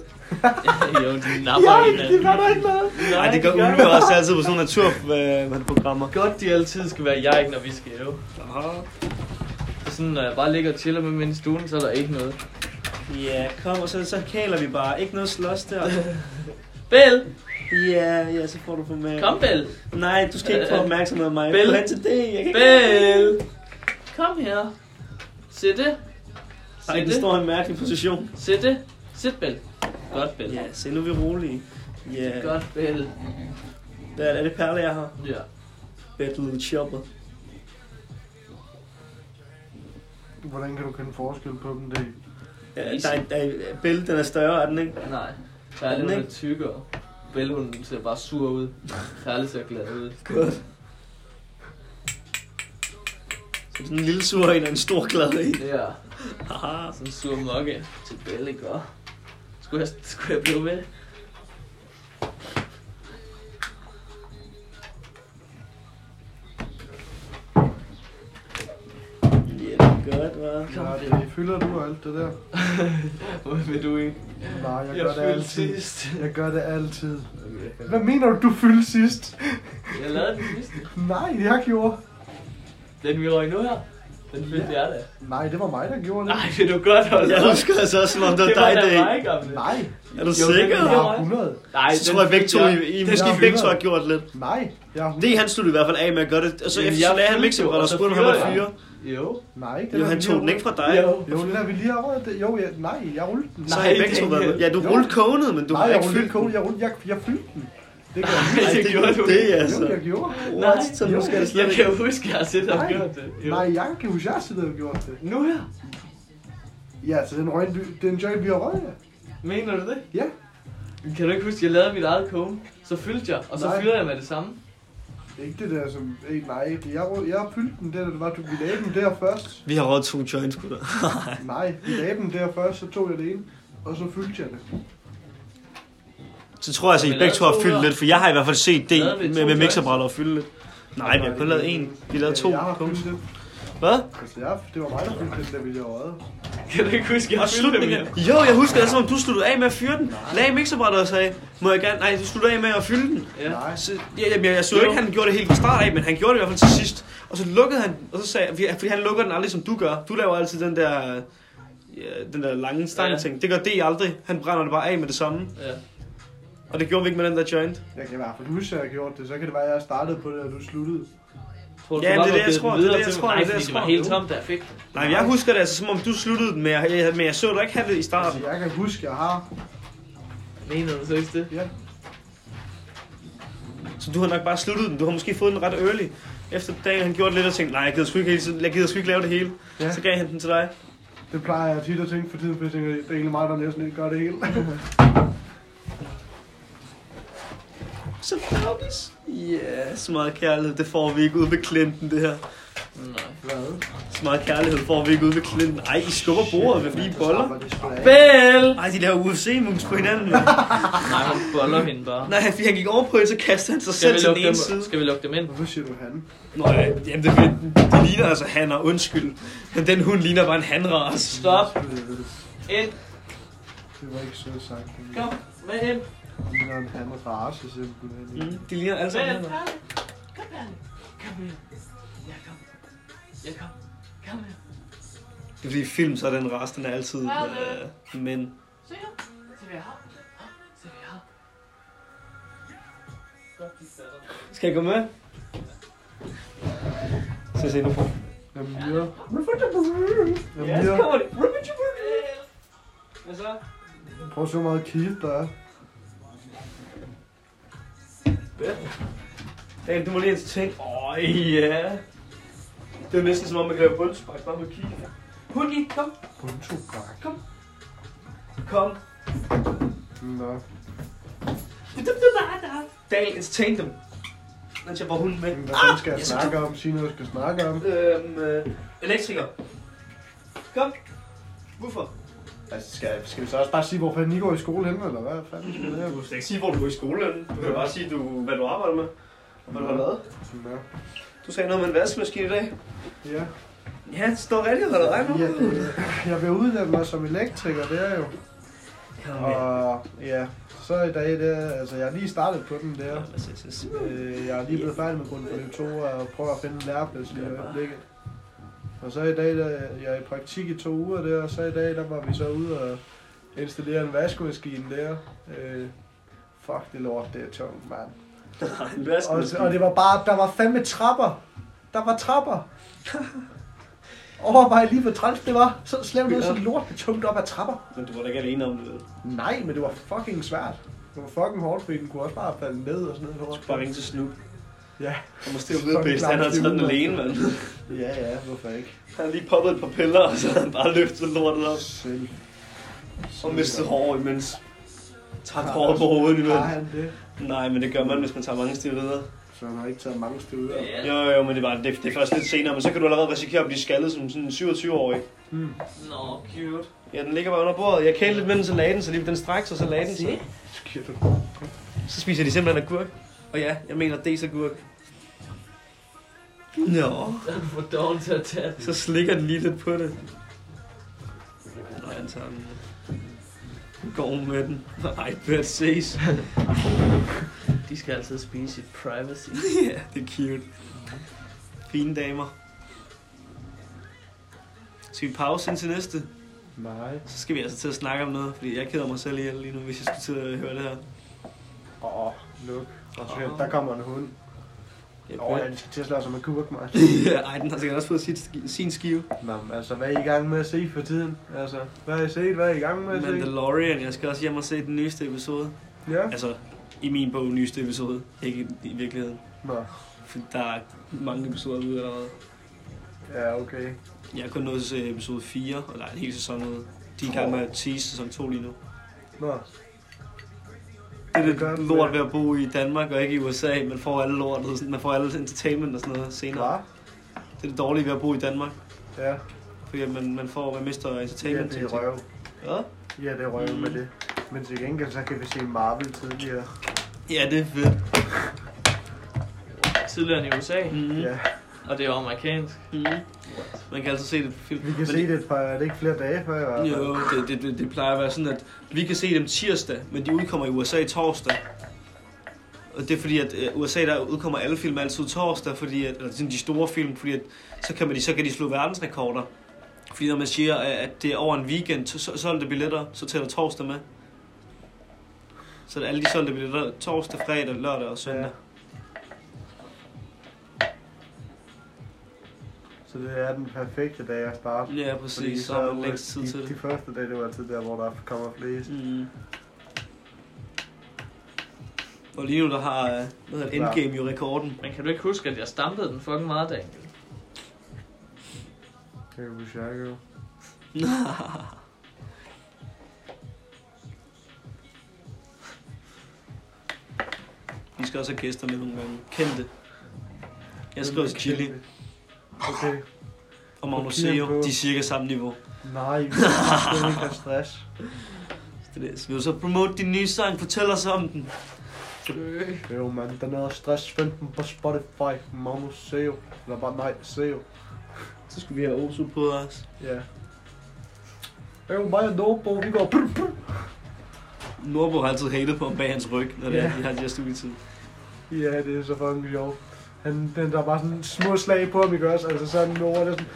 Speaker 1: de napper hinanden.
Speaker 3: var der ikke noget.
Speaker 2: Nej, det gør ulve også altid på sådan nogle øh, naturprogrammer.
Speaker 1: Godt, de altid skal være jeg, når vi skal øve. Det er sådan, når jeg bare ligger og chiller med min i stuen, så er der ikke noget.
Speaker 2: Ja, kom, og så, så kaler vi bare. Ikke noget slås der.
Speaker 1: Bell,
Speaker 2: Ja, ja, så får du for med.
Speaker 1: kom Bell.
Speaker 2: Nej, du skal ikke få opmærksomhed af mig.
Speaker 1: Bell.
Speaker 2: Kom hen til det. Jeg kan ikke-
Speaker 1: Bell, kom her. Sætte.
Speaker 2: Ej, den
Speaker 1: Sætte.
Speaker 2: står i en mærkelig position.
Speaker 1: Sætte. Sæt Bell. Godt Bell.
Speaker 2: Ja, se nu er vi rolige. Ja,
Speaker 1: Godt Bell.
Speaker 2: hvad er det- er det perle, jeg har?
Speaker 1: Ja.
Speaker 2: Battle Chopper.
Speaker 3: Hvordan kan du kende forskel på dem? Det,
Speaker 2: Ja, der, er- der, er- Belle, den er større, er den ikke?
Speaker 1: Nej. Der er
Speaker 2: den
Speaker 1: den
Speaker 2: ikke?
Speaker 1: lidt tykkere. Belle, hun ser bare sur ud. Perle ser glad ud.
Speaker 2: Godt. Så sådan en lille sur en og en stor glad en.
Speaker 1: Det er
Speaker 2: Haha.
Speaker 1: sådan en sur mokke til Belle, ikke? Og Skulle jeg, skulle jeg blive ved?
Speaker 2: Ja, det er godt, hva'?
Speaker 3: ja, det fylder du og alt det der.
Speaker 1: Hvor vil du ikke?
Speaker 3: Nej, jeg, gør det
Speaker 1: fyldte
Speaker 3: altid.
Speaker 1: sidst.
Speaker 3: Jeg gør det altid.
Speaker 1: Okay.
Speaker 3: Hvad mener du, du fyldte sidst?
Speaker 1: Jeg lavede den sidste.
Speaker 3: Nej, jeg gjorde.
Speaker 1: Den vi røg nu her. Den fyldte jeg da.
Speaker 3: Nej, det var mig, der gjorde det.
Speaker 1: Nej, vil du godt holde
Speaker 2: Jeg
Speaker 1: op?
Speaker 2: husker altså også, som om det
Speaker 1: Det
Speaker 2: var
Speaker 1: var
Speaker 2: dig,
Speaker 1: da mig,
Speaker 2: det
Speaker 1: gamle.
Speaker 3: Nej,
Speaker 2: Er du
Speaker 1: Jo, det
Speaker 2: sikker?
Speaker 1: var
Speaker 3: jeg
Speaker 1: mig.
Speaker 3: er 100.
Speaker 1: Nej,
Speaker 2: Så tror jeg begge to, I, I
Speaker 3: Det
Speaker 2: måske
Speaker 3: skal
Speaker 2: begge to
Speaker 3: videre.
Speaker 2: har gjort lidt.
Speaker 3: Nej, jeg er 100.
Speaker 2: Det han stod i hvert fald af med at gøre det, og så
Speaker 1: Jamen,
Speaker 2: efter
Speaker 1: jeg
Speaker 2: så lagde han
Speaker 1: fyldte
Speaker 2: mixen
Speaker 1: jo,
Speaker 2: fra dig, og
Speaker 1: og
Speaker 2: så
Speaker 1: så
Speaker 2: spurgte han, om han var
Speaker 1: fyrede
Speaker 2: fyre.
Speaker 1: Jo.
Speaker 3: Nej, det
Speaker 2: Jo,
Speaker 3: der,
Speaker 2: han
Speaker 3: vi
Speaker 2: tog
Speaker 3: lige
Speaker 2: den ikke fra dig.
Speaker 1: Jo.
Speaker 3: rullede. Jo, det der vi lige har rullet det. Jo, jeg, nej, jeg rullede den.
Speaker 2: Så
Speaker 1: Nej,
Speaker 2: har I begge
Speaker 1: det
Speaker 2: to
Speaker 1: er
Speaker 2: været med.
Speaker 1: ikke-
Speaker 2: Ja, du
Speaker 3: Jo.
Speaker 2: rullede kogene, men du
Speaker 3: nej,
Speaker 2: har
Speaker 3: jeg
Speaker 2: ikke
Speaker 3: rullede
Speaker 2: fyldt den.
Speaker 3: kogen. Jeg, rullede, jeg, jeg fyldte den. Det gør jeg
Speaker 1: Nej, det gjorde du
Speaker 2: Det er
Speaker 3: ikke.
Speaker 2: altså...
Speaker 3: Jo, jeg gjorde.
Speaker 2: What? Så
Speaker 3: Jo.
Speaker 2: nu skal jeg
Speaker 1: Jeg
Speaker 2: slet
Speaker 1: kan
Speaker 2: ikke...
Speaker 1: jo huske, at jeg har siddet og
Speaker 3: Nej.
Speaker 1: gjort det. Jo.
Speaker 3: Nej, jeg kan huske, jeg sidder og gjort det.
Speaker 1: Nu her?
Speaker 3: Ja, så den røg, den joint, vi har røget, ja.
Speaker 1: Mener du det?
Speaker 3: Ja,
Speaker 1: Kan du ikke huske, at jeg lavede mit eget kone? Så fyldte jeg, og så
Speaker 3: Nej.
Speaker 1: fyrede jeg med det samme.
Speaker 3: Ikke det der som... Ej, nej, det jeg, rå- jeg fyldte den der, det var, du, vi lagde den der først.
Speaker 2: Vi har råd to joints, gutter.
Speaker 3: Nej, vi lagde den der først, så tog jeg det ene, og så fyldte jeg det.
Speaker 2: Så tror jeg altså, I
Speaker 1: Men
Speaker 2: begge to har
Speaker 1: lavede to
Speaker 2: fyldt
Speaker 1: der.
Speaker 2: lidt, for jeg har i hvert fald set det
Speaker 1: Lavede vi to
Speaker 2: med, med
Speaker 1: joints?
Speaker 2: mixerbrætter og fylde lidt. Nej, vi har kun lavet en. Vi lavede to.
Speaker 3: Ja, jeg har fyldt det.
Speaker 2: Hvad?
Speaker 3: Altså, jeg, det var mig, der fyldte den, der ville jeg røde.
Speaker 1: Kan du ikke huske, at jeg
Speaker 2: Og
Speaker 1: fyldte det
Speaker 2: slutningen.
Speaker 1: mere?
Speaker 2: Jo, jeg husker det, som om du sluttede af med at fyre den. Lag mixerbrættet og sagde, må jeg gerne... Nej, du sluttede af med at fylde den.
Speaker 1: Ja.
Speaker 3: Nej,
Speaker 2: Så, ja, jamen, jeg, jeg så jo
Speaker 1: Jo.
Speaker 2: ikke, han gjorde det helt fra start af, men han gjorde det i hvert fald til sidst. Og så lukkede han, og så sagde fordi- fordi han lukker den aldrig, som du gør. Du laver altid den der, ja, den der lange stang ting. Det gør det aldrig. Han brænder det bare af med det samme.
Speaker 1: Ja.
Speaker 2: Og det gjorde vi ikke med den der joint.
Speaker 3: jeg kan i hvert fald huske, at jeg gjorde det. Så kan det være, at jeg startede på det, og du sluttede.
Speaker 1: Tror, du bare
Speaker 2: Ja, det er det,
Speaker 1: var
Speaker 2: jeg
Speaker 1: givet
Speaker 2: tror,
Speaker 1: den
Speaker 2: det er
Speaker 1: videre
Speaker 2: det, jeg
Speaker 1: til
Speaker 2: tror,
Speaker 1: mig?
Speaker 2: det
Speaker 1: Nej,
Speaker 2: er det,
Speaker 1: fordi
Speaker 2: jeg
Speaker 1: det var
Speaker 2: tror.
Speaker 1: helt tomt, da jeg fik det.
Speaker 2: Nej, men jeg husker det altså, som om du sluttede den, men jeg, jeg- men jeg så dig ikke have det i
Speaker 3: Altså,
Speaker 2: starten.
Speaker 3: jeg kan huske, at jeg har...
Speaker 1: Mener du seriøst det?
Speaker 3: Ja,
Speaker 2: Så du har nok bare sluttet den. Du har måske fået den ret early. Efter dagen han gjorde lidt og tænkte, nej, jeg gider sgu ikke, hele tiden- jeg gider sgu ikke lave det hele.
Speaker 3: Ja.
Speaker 2: Så gav han den til dig.
Speaker 3: det plejer jeg tit at tænke for tiden, for jeg tænker, det er egentlig mig, der næsten ikke gør det hele.
Speaker 2: Så Claudis. Ja, så meget kærlighed, det får vi ikke ud ved Clinton, det her.
Speaker 1: Nej.
Speaker 3: Hvad?
Speaker 2: Så meget kærlighed får vi ikke ud ved Clinton. Ej, I skubber bordet, ved fordi I boller.
Speaker 3: Bæ!
Speaker 1: Bell!
Speaker 2: Ej, de laver UFC-moves på hinanden. jo. Ah.
Speaker 1: Nej, hun boller hende bare.
Speaker 2: Nej, fordi han gik over på hende, så kastede han sig
Speaker 1: Skal
Speaker 2: selv
Speaker 1: vi,
Speaker 2: til den
Speaker 1: lukke
Speaker 2: ene
Speaker 1: dem,
Speaker 2: side.
Speaker 1: skal vi lukke dem ind?
Speaker 3: Hvorfor siger du han?
Speaker 2: Nå, ja, jamen, det, det ligner altså han, og undskyld. Men den hund ligner bare en hanras.
Speaker 1: Stop. Ind.
Speaker 3: Det var ikke sødt sagt. men-
Speaker 1: Kom. Med ind.
Speaker 3: Han ligner en anden race, simpelthen.
Speaker 2: Mm, de ligner alle
Speaker 1: Med
Speaker 2: sammen
Speaker 1: ind.
Speaker 2: hanner.
Speaker 1: Perle. Kom, Perle. Kom her. Ja, kom. Ja, kom. Kom her.
Speaker 2: Det er fordi i film, så er den ras, den er altid øh, men.
Speaker 1: Se her. Se, hvad jeg har. Se, hvad jeg har. Godt, de fatter.
Speaker 2: Skal jeg gå med? Så se nu.
Speaker 3: Jamen, ja.
Speaker 2: Ja,
Speaker 3: Jamen,
Speaker 2: så
Speaker 3: ja.
Speaker 2: kommer det. Hvad så?
Speaker 3: Prøv at se, hvor meget Keith der er.
Speaker 2: Daniel, du må lige ind til tænke. Åh, ja. Det er næsten som om, man kan lave bundspark bare med kigge. Hundi, kom,
Speaker 3: Bundtobak.
Speaker 2: kom.
Speaker 3: Nå.
Speaker 2: Daniel, entertain dem. Mens jeg var hunden med.
Speaker 3: Men Hvad fanden skal jeg
Speaker 2: jeg synes,
Speaker 3: snakke om? Sig noget, jeg skal snakke om.
Speaker 2: Øhm, øh, elektriker. Kom. Hvorfor?
Speaker 3: Altså, skal, skal vi så også bare sige, hvor fanden I går i skole henne, eller hvad fanden skal det her?
Speaker 2: Du skal ikke sige, hvor du går i skole. henne. Du kan bare sige, du, hvad du arbejder med. og Hvad du har lavet.
Speaker 3: Nå.
Speaker 2: Du sagde noget med en vaskemaskine i dag.
Speaker 3: Ja.
Speaker 2: Ja, det står rigtigt, hvad der er nu.
Speaker 3: ja det, jeg vil uddanne mig som elektriker, det er jo. Og ja, så i dag, det er, altså jeg har lige startet på den der. Øh, jeg er lige blevet færdig med grundforløb 2 og prøver at finde en læreplads lige i øjeblikket. Og så i dag, der, jeg er i praktik i to uger der, og så i dag, der var vi så ude og installere en vaskemaskine der. Øh, fuck det lort, det er tungt, mand.
Speaker 2: En
Speaker 3: Og,
Speaker 2: vaskemaskine.
Speaker 3: og det var bare, der var fandme trapper. Der var trapper. Overvej lige, hvor træls det var. Så slæv noget så lort tungt op ad trapper.
Speaker 2: Men du var da ikke alene om det, vel?
Speaker 3: Nej, men det var fucking svært. Det var fucking hårdt, fordi den kunne også bare falde ned og sådan noget.
Speaker 2: Du skulle bare ringe til Snoop.
Speaker 3: Ja.
Speaker 2: Og måske vedbæst, han har taget den alene, mand.
Speaker 3: Ja, ja, hvorfor ikke?
Speaker 2: Han har lige poppet et par piller, og så har han bare løftet lortet op.
Speaker 3: Selv.
Speaker 2: Og mistet hår imens. Tabt håret på hovedet
Speaker 3: Har
Speaker 2: imens.
Speaker 3: han det?
Speaker 2: Nej, men det gør man, hvis man tager mange steroider.
Speaker 3: Så han har ikke taget mange stykker.
Speaker 1: Ja.
Speaker 3: Ja.
Speaker 2: Jo, jo, jo, men det er, bare, det, det er først lidt senere, men så kan du allerede risikere at blive skaldet som sådan en 27-årig.
Speaker 3: Hmm.
Speaker 1: Nå, cute.
Speaker 2: Ja, den ligger bare under bordet. Jeg kælte lidt med den, så lagde den, så lige den straks, og så lagde den. Så,
Speaker 3: Skidt.
Speaker 2: så spiser de simpelthen agurk. Og ja, jeg mener, det er så agurk. Nå,
Speaker 1: Den er for dårlig til at tage den.
Speaker 2: så slikker den lige lidt på det. Nå, han tager den. Går med den. Ej, bør ses.
Speaker 1: De skal altid spise i privacy.
Speaker 2: Ja, det er cute. Fine damer. Skal vi pause indtil næste?
Speaker 3: Nej.
Speaker 2: Så skal vi altså til at snakke om noget, fordi jeg keder mig selv ihjel lige nu, hvis jeg skulle til at høre det her.
Speaker 3: Åh, oh, luk.
Speaker 2: Åh.
Speaker 3: Der kommer en hund.
Speaker 2: Jeg
Speaker 3: Åh, oh, ja, de skal til at slå sig med kurk, mig.
Speaker 2: ja, ej, den har sikkert også fået sit, ski- sin skive.
Speaker 3: Nå, altså, hvad er I i gang med at se for tiden? Altså, hvad har I set? Hvad er I i gang med at se?
Speaker 2: Mandalorian, jeg skal også hjem og se den nyeste episode.
Speaker 3: Ja.
Speaker 2: Altså, i min bog, nyeste episode. Ikke i- i virkeligheden.
Speaker 3: Nå.
Speaker 2: For der er mange episoder ude allerede.
Speaker 3: Ja, okay.
Speaker 2: Jeg er kun nået til episode 4, og der er en hel sæson ude. De er i gang med at tease sæson 2 lige nu.
Speaker 3: Nå.
Speaker 2: Det er det lort ved at bo i Danmark og ikke i USA. Man får alle lort, og sådan- man får alle entertainment og sådan noget senere.
Speaker 3: Hva?
Speaker 2: Det er det dårlige ved at bo i Danmark.
Speaker 3: Ja.
Speaker 2: Fordi man, man får, man mister
Speaker 3: Ja,
Speaker 2: entertainment.
Speaker 3: det er røv.
Speaker 2: Ja,
Speaker 3: Ja, det er røv med
Speaker 2: Mm.
Speaker 3: det. Men til gengæld, så kan vi se Marvel tidligere.
Speaker 2: ja det er fedt.
Speaker 1: Tidligere end i USA,
Speaker 2: Mm.
Speaker 3: Ja.
Speaker 1: og det er jo amerikansk.
Speaker 2: Mm. Man kan altså se det på film.
Speaker 3: Vi kan
Speaker 2: Men-
Speaker 3: se det et par, er det ikke flere dage før i hvert fald?
Speaker 2: Jo, det, det, det, det plejer at være sådan, at vi kan se dem tirsdag, men de udkommer i USA torsdag. Og det er fordi, at øh, USA der udkommer alle film altid torsdag, fordi at, eller sådan de store film, fordi at, så, kan man, så kan de slå verdensrekorder. Fordi når man siger, at at det er over en weekend, så- så solgte billetter, så tæller torsdag med. Så er alle de solgte billetter torsdag, fredag, lørdag og søndag.
Speaker 3: Så det er den perfekte dag at starte.
Speaker 2: Ja, ja
Speaker 3: Fordi
Speaker 2: præcis. Så har man
Speaker 3: er
Speaker 2: længst tid
Speaker 3: de,
Speaker 2: til det.
Speaker 3: De første dage, det var altid der, hvor der kommer flest.
Speaker 2: Mm. Og lige nu der har øh, hvad hedder det,
Speaker 3: Klar.
Speaker 2: Endgame jo rekorden.
Speaker 1: Men kan du ikke huske, at jeg stampede den fucking meget, Daniel?
Speaker 3: Det er Bushago.
Speaker 2: Vi skal også have gæster med nogle gange. Kendte. Jeg skriver også Chili
Speaker 3: Okay.
Speaker 2: og Magnus
Speaker 3: Kigger
Speaker 2: Seo.
Speaker 3: på-
Speaker 2: De er cirka samme niveau.
Speaker 3: Nej, vi skal ikke have stress.
Speaker 2: Så det er det. Så vil du så promote din nye sang? Fortæl os om den.
Speaker 3: Jo, mand, den hedder Stress 15 på Spotify. Magnus Seo. Eller bare, nej, Seo.
Speaker 2: Så skal vi have Osu på os.
Speaker 3: Ja. Jo, mig og Nobo, vi går... brr, brr.
Speaker 2: Norbo har altid hatet på ham bag hans ryg, når det
Speaker 3: Ja.
Speaker 2: er, de har de her studietid.
Speaker 3: Ja, det er så fucking sjovt. Han, den der er bare sådan små slag på ham, ikke også? Altså sådan nogle ord, der er sådan...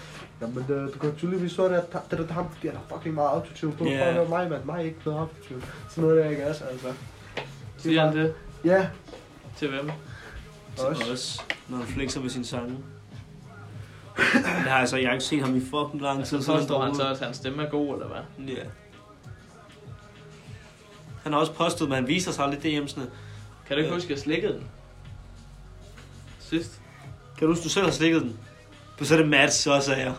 Speaker 3: Jamen, det, du kan tydeligvis så, at det, det, det ham, fordi han har fucking meget autotune på.
Speaker 2: Ja.
Speaker 3: Yeah. Fuck, mig, mand. Mig er ikke noget autotune. Sådan noget der, ikke også? Altså.
Speaker 1: Siger han det?
Speaker 3: Ja,
Speaker 1: Til hvem?
Speaker 2: Til
Speaker 3: Os.
Speaker 2: os, når han flexer med sin sange. Men Det har altså, jeg har ikke set ham i fucking lang tid.
Speaker 1: Så
Speaker 2: siden
Speaker 1: påstår han
Speaker 2: droppede.
Speaker 1: så, at hans stemme er god, eller hvad?
Speaker 2: Ja. Han har også påstået, men han viser sig aldrig DM'sene.
Speaker 1: Kan du ikke
Speaker 2: Ja.
Speaker 1: huske, at jeg slikkede den? Sidst?
Speaker 2: Kan du huske, du selv har slikket den? For så er det Mads, så sagde jeg.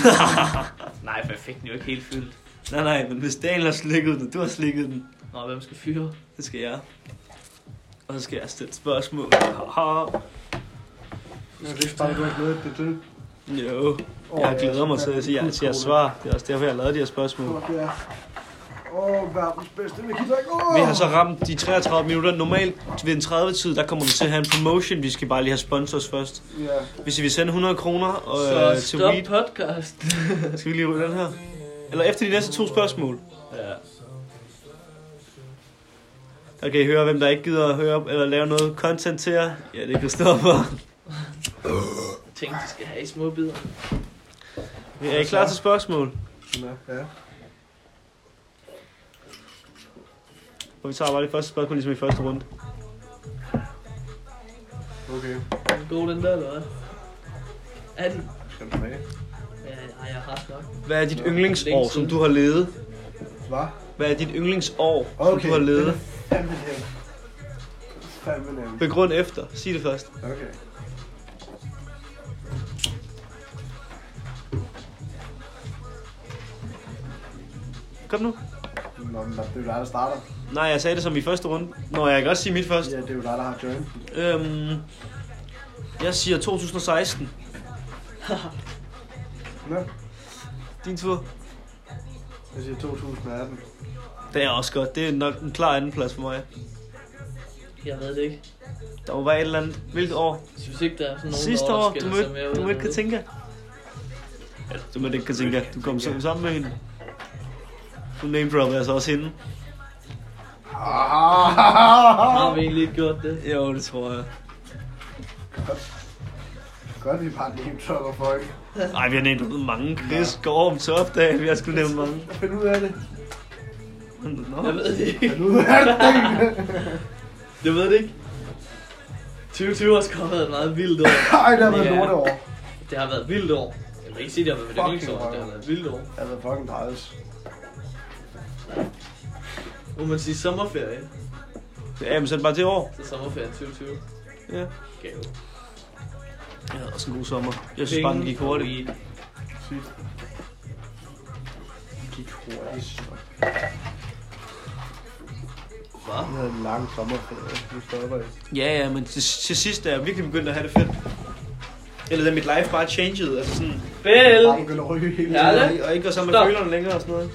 Speaker 1: Nej, for jeg fik den jo ikke helt fyldt.
Speaker 2: Nej, nej, men hvis Daniel har slikket den, og du har slikket den,
Speaker 1: Nå, hvem skal fyre?
Speaker 2: det skal jeg. Og så skal jeg stille spørgsmål.
Speaker 3: Jeg synes bare, du har glædet det til.
Speaker 2: Jo, jeg glæder mig til at sige, at jeg svarer. Det er også derfor, jeg har lavet de her spørgsmål.
Speaker 3: Fuck ja. Åh, oh, verdens bedste energidrik. Oh!
Speaker 2: Vi har så ramt de 33 minutter. Normalt ved en 30-tid, der kommer vi til at have en promotion. Vi skal bare lige have sponsors først.
Speaker 3: Ja.
Speaker 2: Hvis vi sender 100 kroner og, øh,
Speaker 1: Så
Speaker 2: til
Speaker 1: stop
Speaker 2: Weed,
Speaker 1: podcast.
Speaker 2: skal vi lige ryge den her. Eller efter de næste to spørgsmål.
Speaker 1: ja.
Speaker 2: Der kan I høre, hvem der ikke gider at høre eller lave noget content til jer. Ja, det er Christoffer.
Speaker 1: Ting, de skal have i små bidder.
Speaker 2: Er I klar til spørgsmål?
Speaker 3: Nå, ja.
Speaker 2: Og vi tager bare det første spørgsmål, ligesom i første runde.
Speaker 3: Okay.
Speaker 1: God den der, eller hvad? Er de?
Speaker 3: Skal du med?
Speaker 1: Ja, ja, jeg har nok.
Speaker 2: Hvad er dit yndlingsår, som du har levet?
Speaker 3: Hvad?
Speaker 2: Hvad er dit yndlingsår, som
Speaker 3: Okay.
Speaker 2: du har levet?
Speaker 3: Jamen, det er fandme nemt.
Speaker 2: Begrund efter. Sig det først.
Speaker 3: Okay.
Speaker 2: Kom nu.
Speaker 3: Nå, men det er jo dig, der starter.
Speaker 2: Nej, jeg sagde det som i første runde. Nå, jeg kan godt sige mit først.
Speaker 3: Ja, det er jo dig, der har joint.
Speaker 2: Øhm, jeg siger 2016.
Speaker 3: Nå,
Speaker 2: Din tur.
Speaker 3: jeg siger 2018.
Speaker 2: Det er også godt. Det er nok en klar andenplads for mig.
Speaker 1: Jeg ved det ikke.
Speaker 2: Der må være et eller andet. Hvilket år?
Speaker 1: Jeg synes ikke, der er sådan nogen,
Speaker 2: Sidste
Speaker 1: der
Speaker 2: år, du
Speaker 1: skiller sig mere
Speaker 2: mødte,
Speaker 1: ud
Speaker 2: du
Speaker 1: end
Speaker 2: mødte
Speaker 1: noget.
Speaker 2: Katinka. Ja, du mødte ikke Katinka. Du kom sammen sammen med hende. Du name droppede altså også hende. Ah!
Speaker 1: Har vi egentlig ikke gjort det?
Speaker 2: Jo, det tror jeg.
Speaker 3: Godt, vi bare name dropper folk.
Speaker 2: Nej, vi har nævnt mange. Chris, Gorm, Topdag. Vi har sgu nævnt mange.
Speaker 3: Find ud af det.
Speaker 2: Nå.
Speaker 1: Jeg ved det ikke.
Speaker 3: Find ud af det.
Speaker 1: Jeg ved det ikke. 2020 har sgu været et meget vildt år.
Speaker 3: Ej, det har været
Speaker 2: Ja.
Speaker 3: lort år.
Speaker 1: Det har været et vildt år. Jeg vil ikke sige, det har været et
Speaker 3: Fucking
Speaker 1: vildt år. Det har
Speaker 3: røv.
Speaker 1: været et vildt år.
Speaker 3: Det har været fucking træls.
Speaker 1: Må man sige sommerferie?
Speaker 2: Jamen, så er det bare det år.
Speaker 1: Så sommerferien 2020.
Speaker 2: Ja.
Speaker 1: Gave.
Speaker 2: Jeg havde også en god sommer. Jeg synes bare, den gik hurtigt.
Speaker 1: Weed.
Speaker 3: Sygt. Det Gik hurtigt.
Speaker 1: Hvad?
Speaker 3: Vi havde en lang sommerferie. Nu stopper jeg.
Speaker 2: Ja, ja, men til, til sidst er jeg virkelig begyndt at have det fedt. Eller da mit life bare changed, altså sådan...
Speaker 1: Bill!
Speaker 3: Bare begyndte at ryge hele
Speaker 1: Herre.
Speaker 3: tiden.
Speaker 2: Og, og ikke var sammen med
Speaker 1: Stop.
Speaker 2: følerne længere og sådan noget.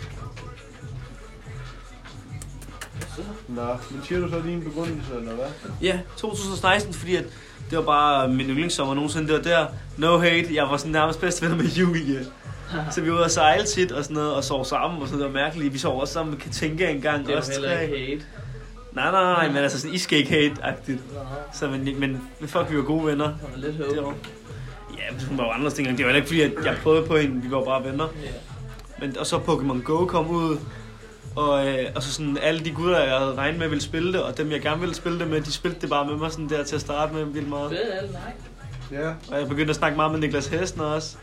Speaker 3: Nå, men siger du så din begrundelse, eller hvad?
Speaker 2: Ja, 2016, fordi at det var bare min yndlingssommer nogensinde. Det var der, no hate, jeg var sådan nærmest bedst venner med Julie. Så vi var ude og sejle tit og sådan noget, og sov sammen og sådan noget. Det var mærkeligt. Vi sov også sammen med Katinka engang.
Speaker 1: Det er jo
Speaker 2: også
Speaker 1: heller
Speaker 2: tre.
Speaker 1: ikke hate.
Speaker 2: Nej, nej, nej, men altså sådan, I skal ikke hate-agtigt. Så, men, men fuck, vi var gode venner.
Speaker 1: Han var lidt
Speaker 2: Det
Speaker 1: høvd.
Speaker 2: år. Ja, men hun var jo andre ting. Det var heller ikke fordi, at jeg prøvede på hende. Vi var bare venner.
Speaker 1: Ja.
Speaker 2: Men, og så Pokémon Go kom ud, og, øh, og så sådan alle de gutter, jeg havde regnet med ville spille det, og dem jeg gerne ville spille det med, de spillede det bare med mig sådan der til at starte med vildt meget.
Speaker 1: Bill, nej.
Speaker 3: Ja,
Speaker 2: Og jeg begyndte at snakke meget med Niklas Hessner også,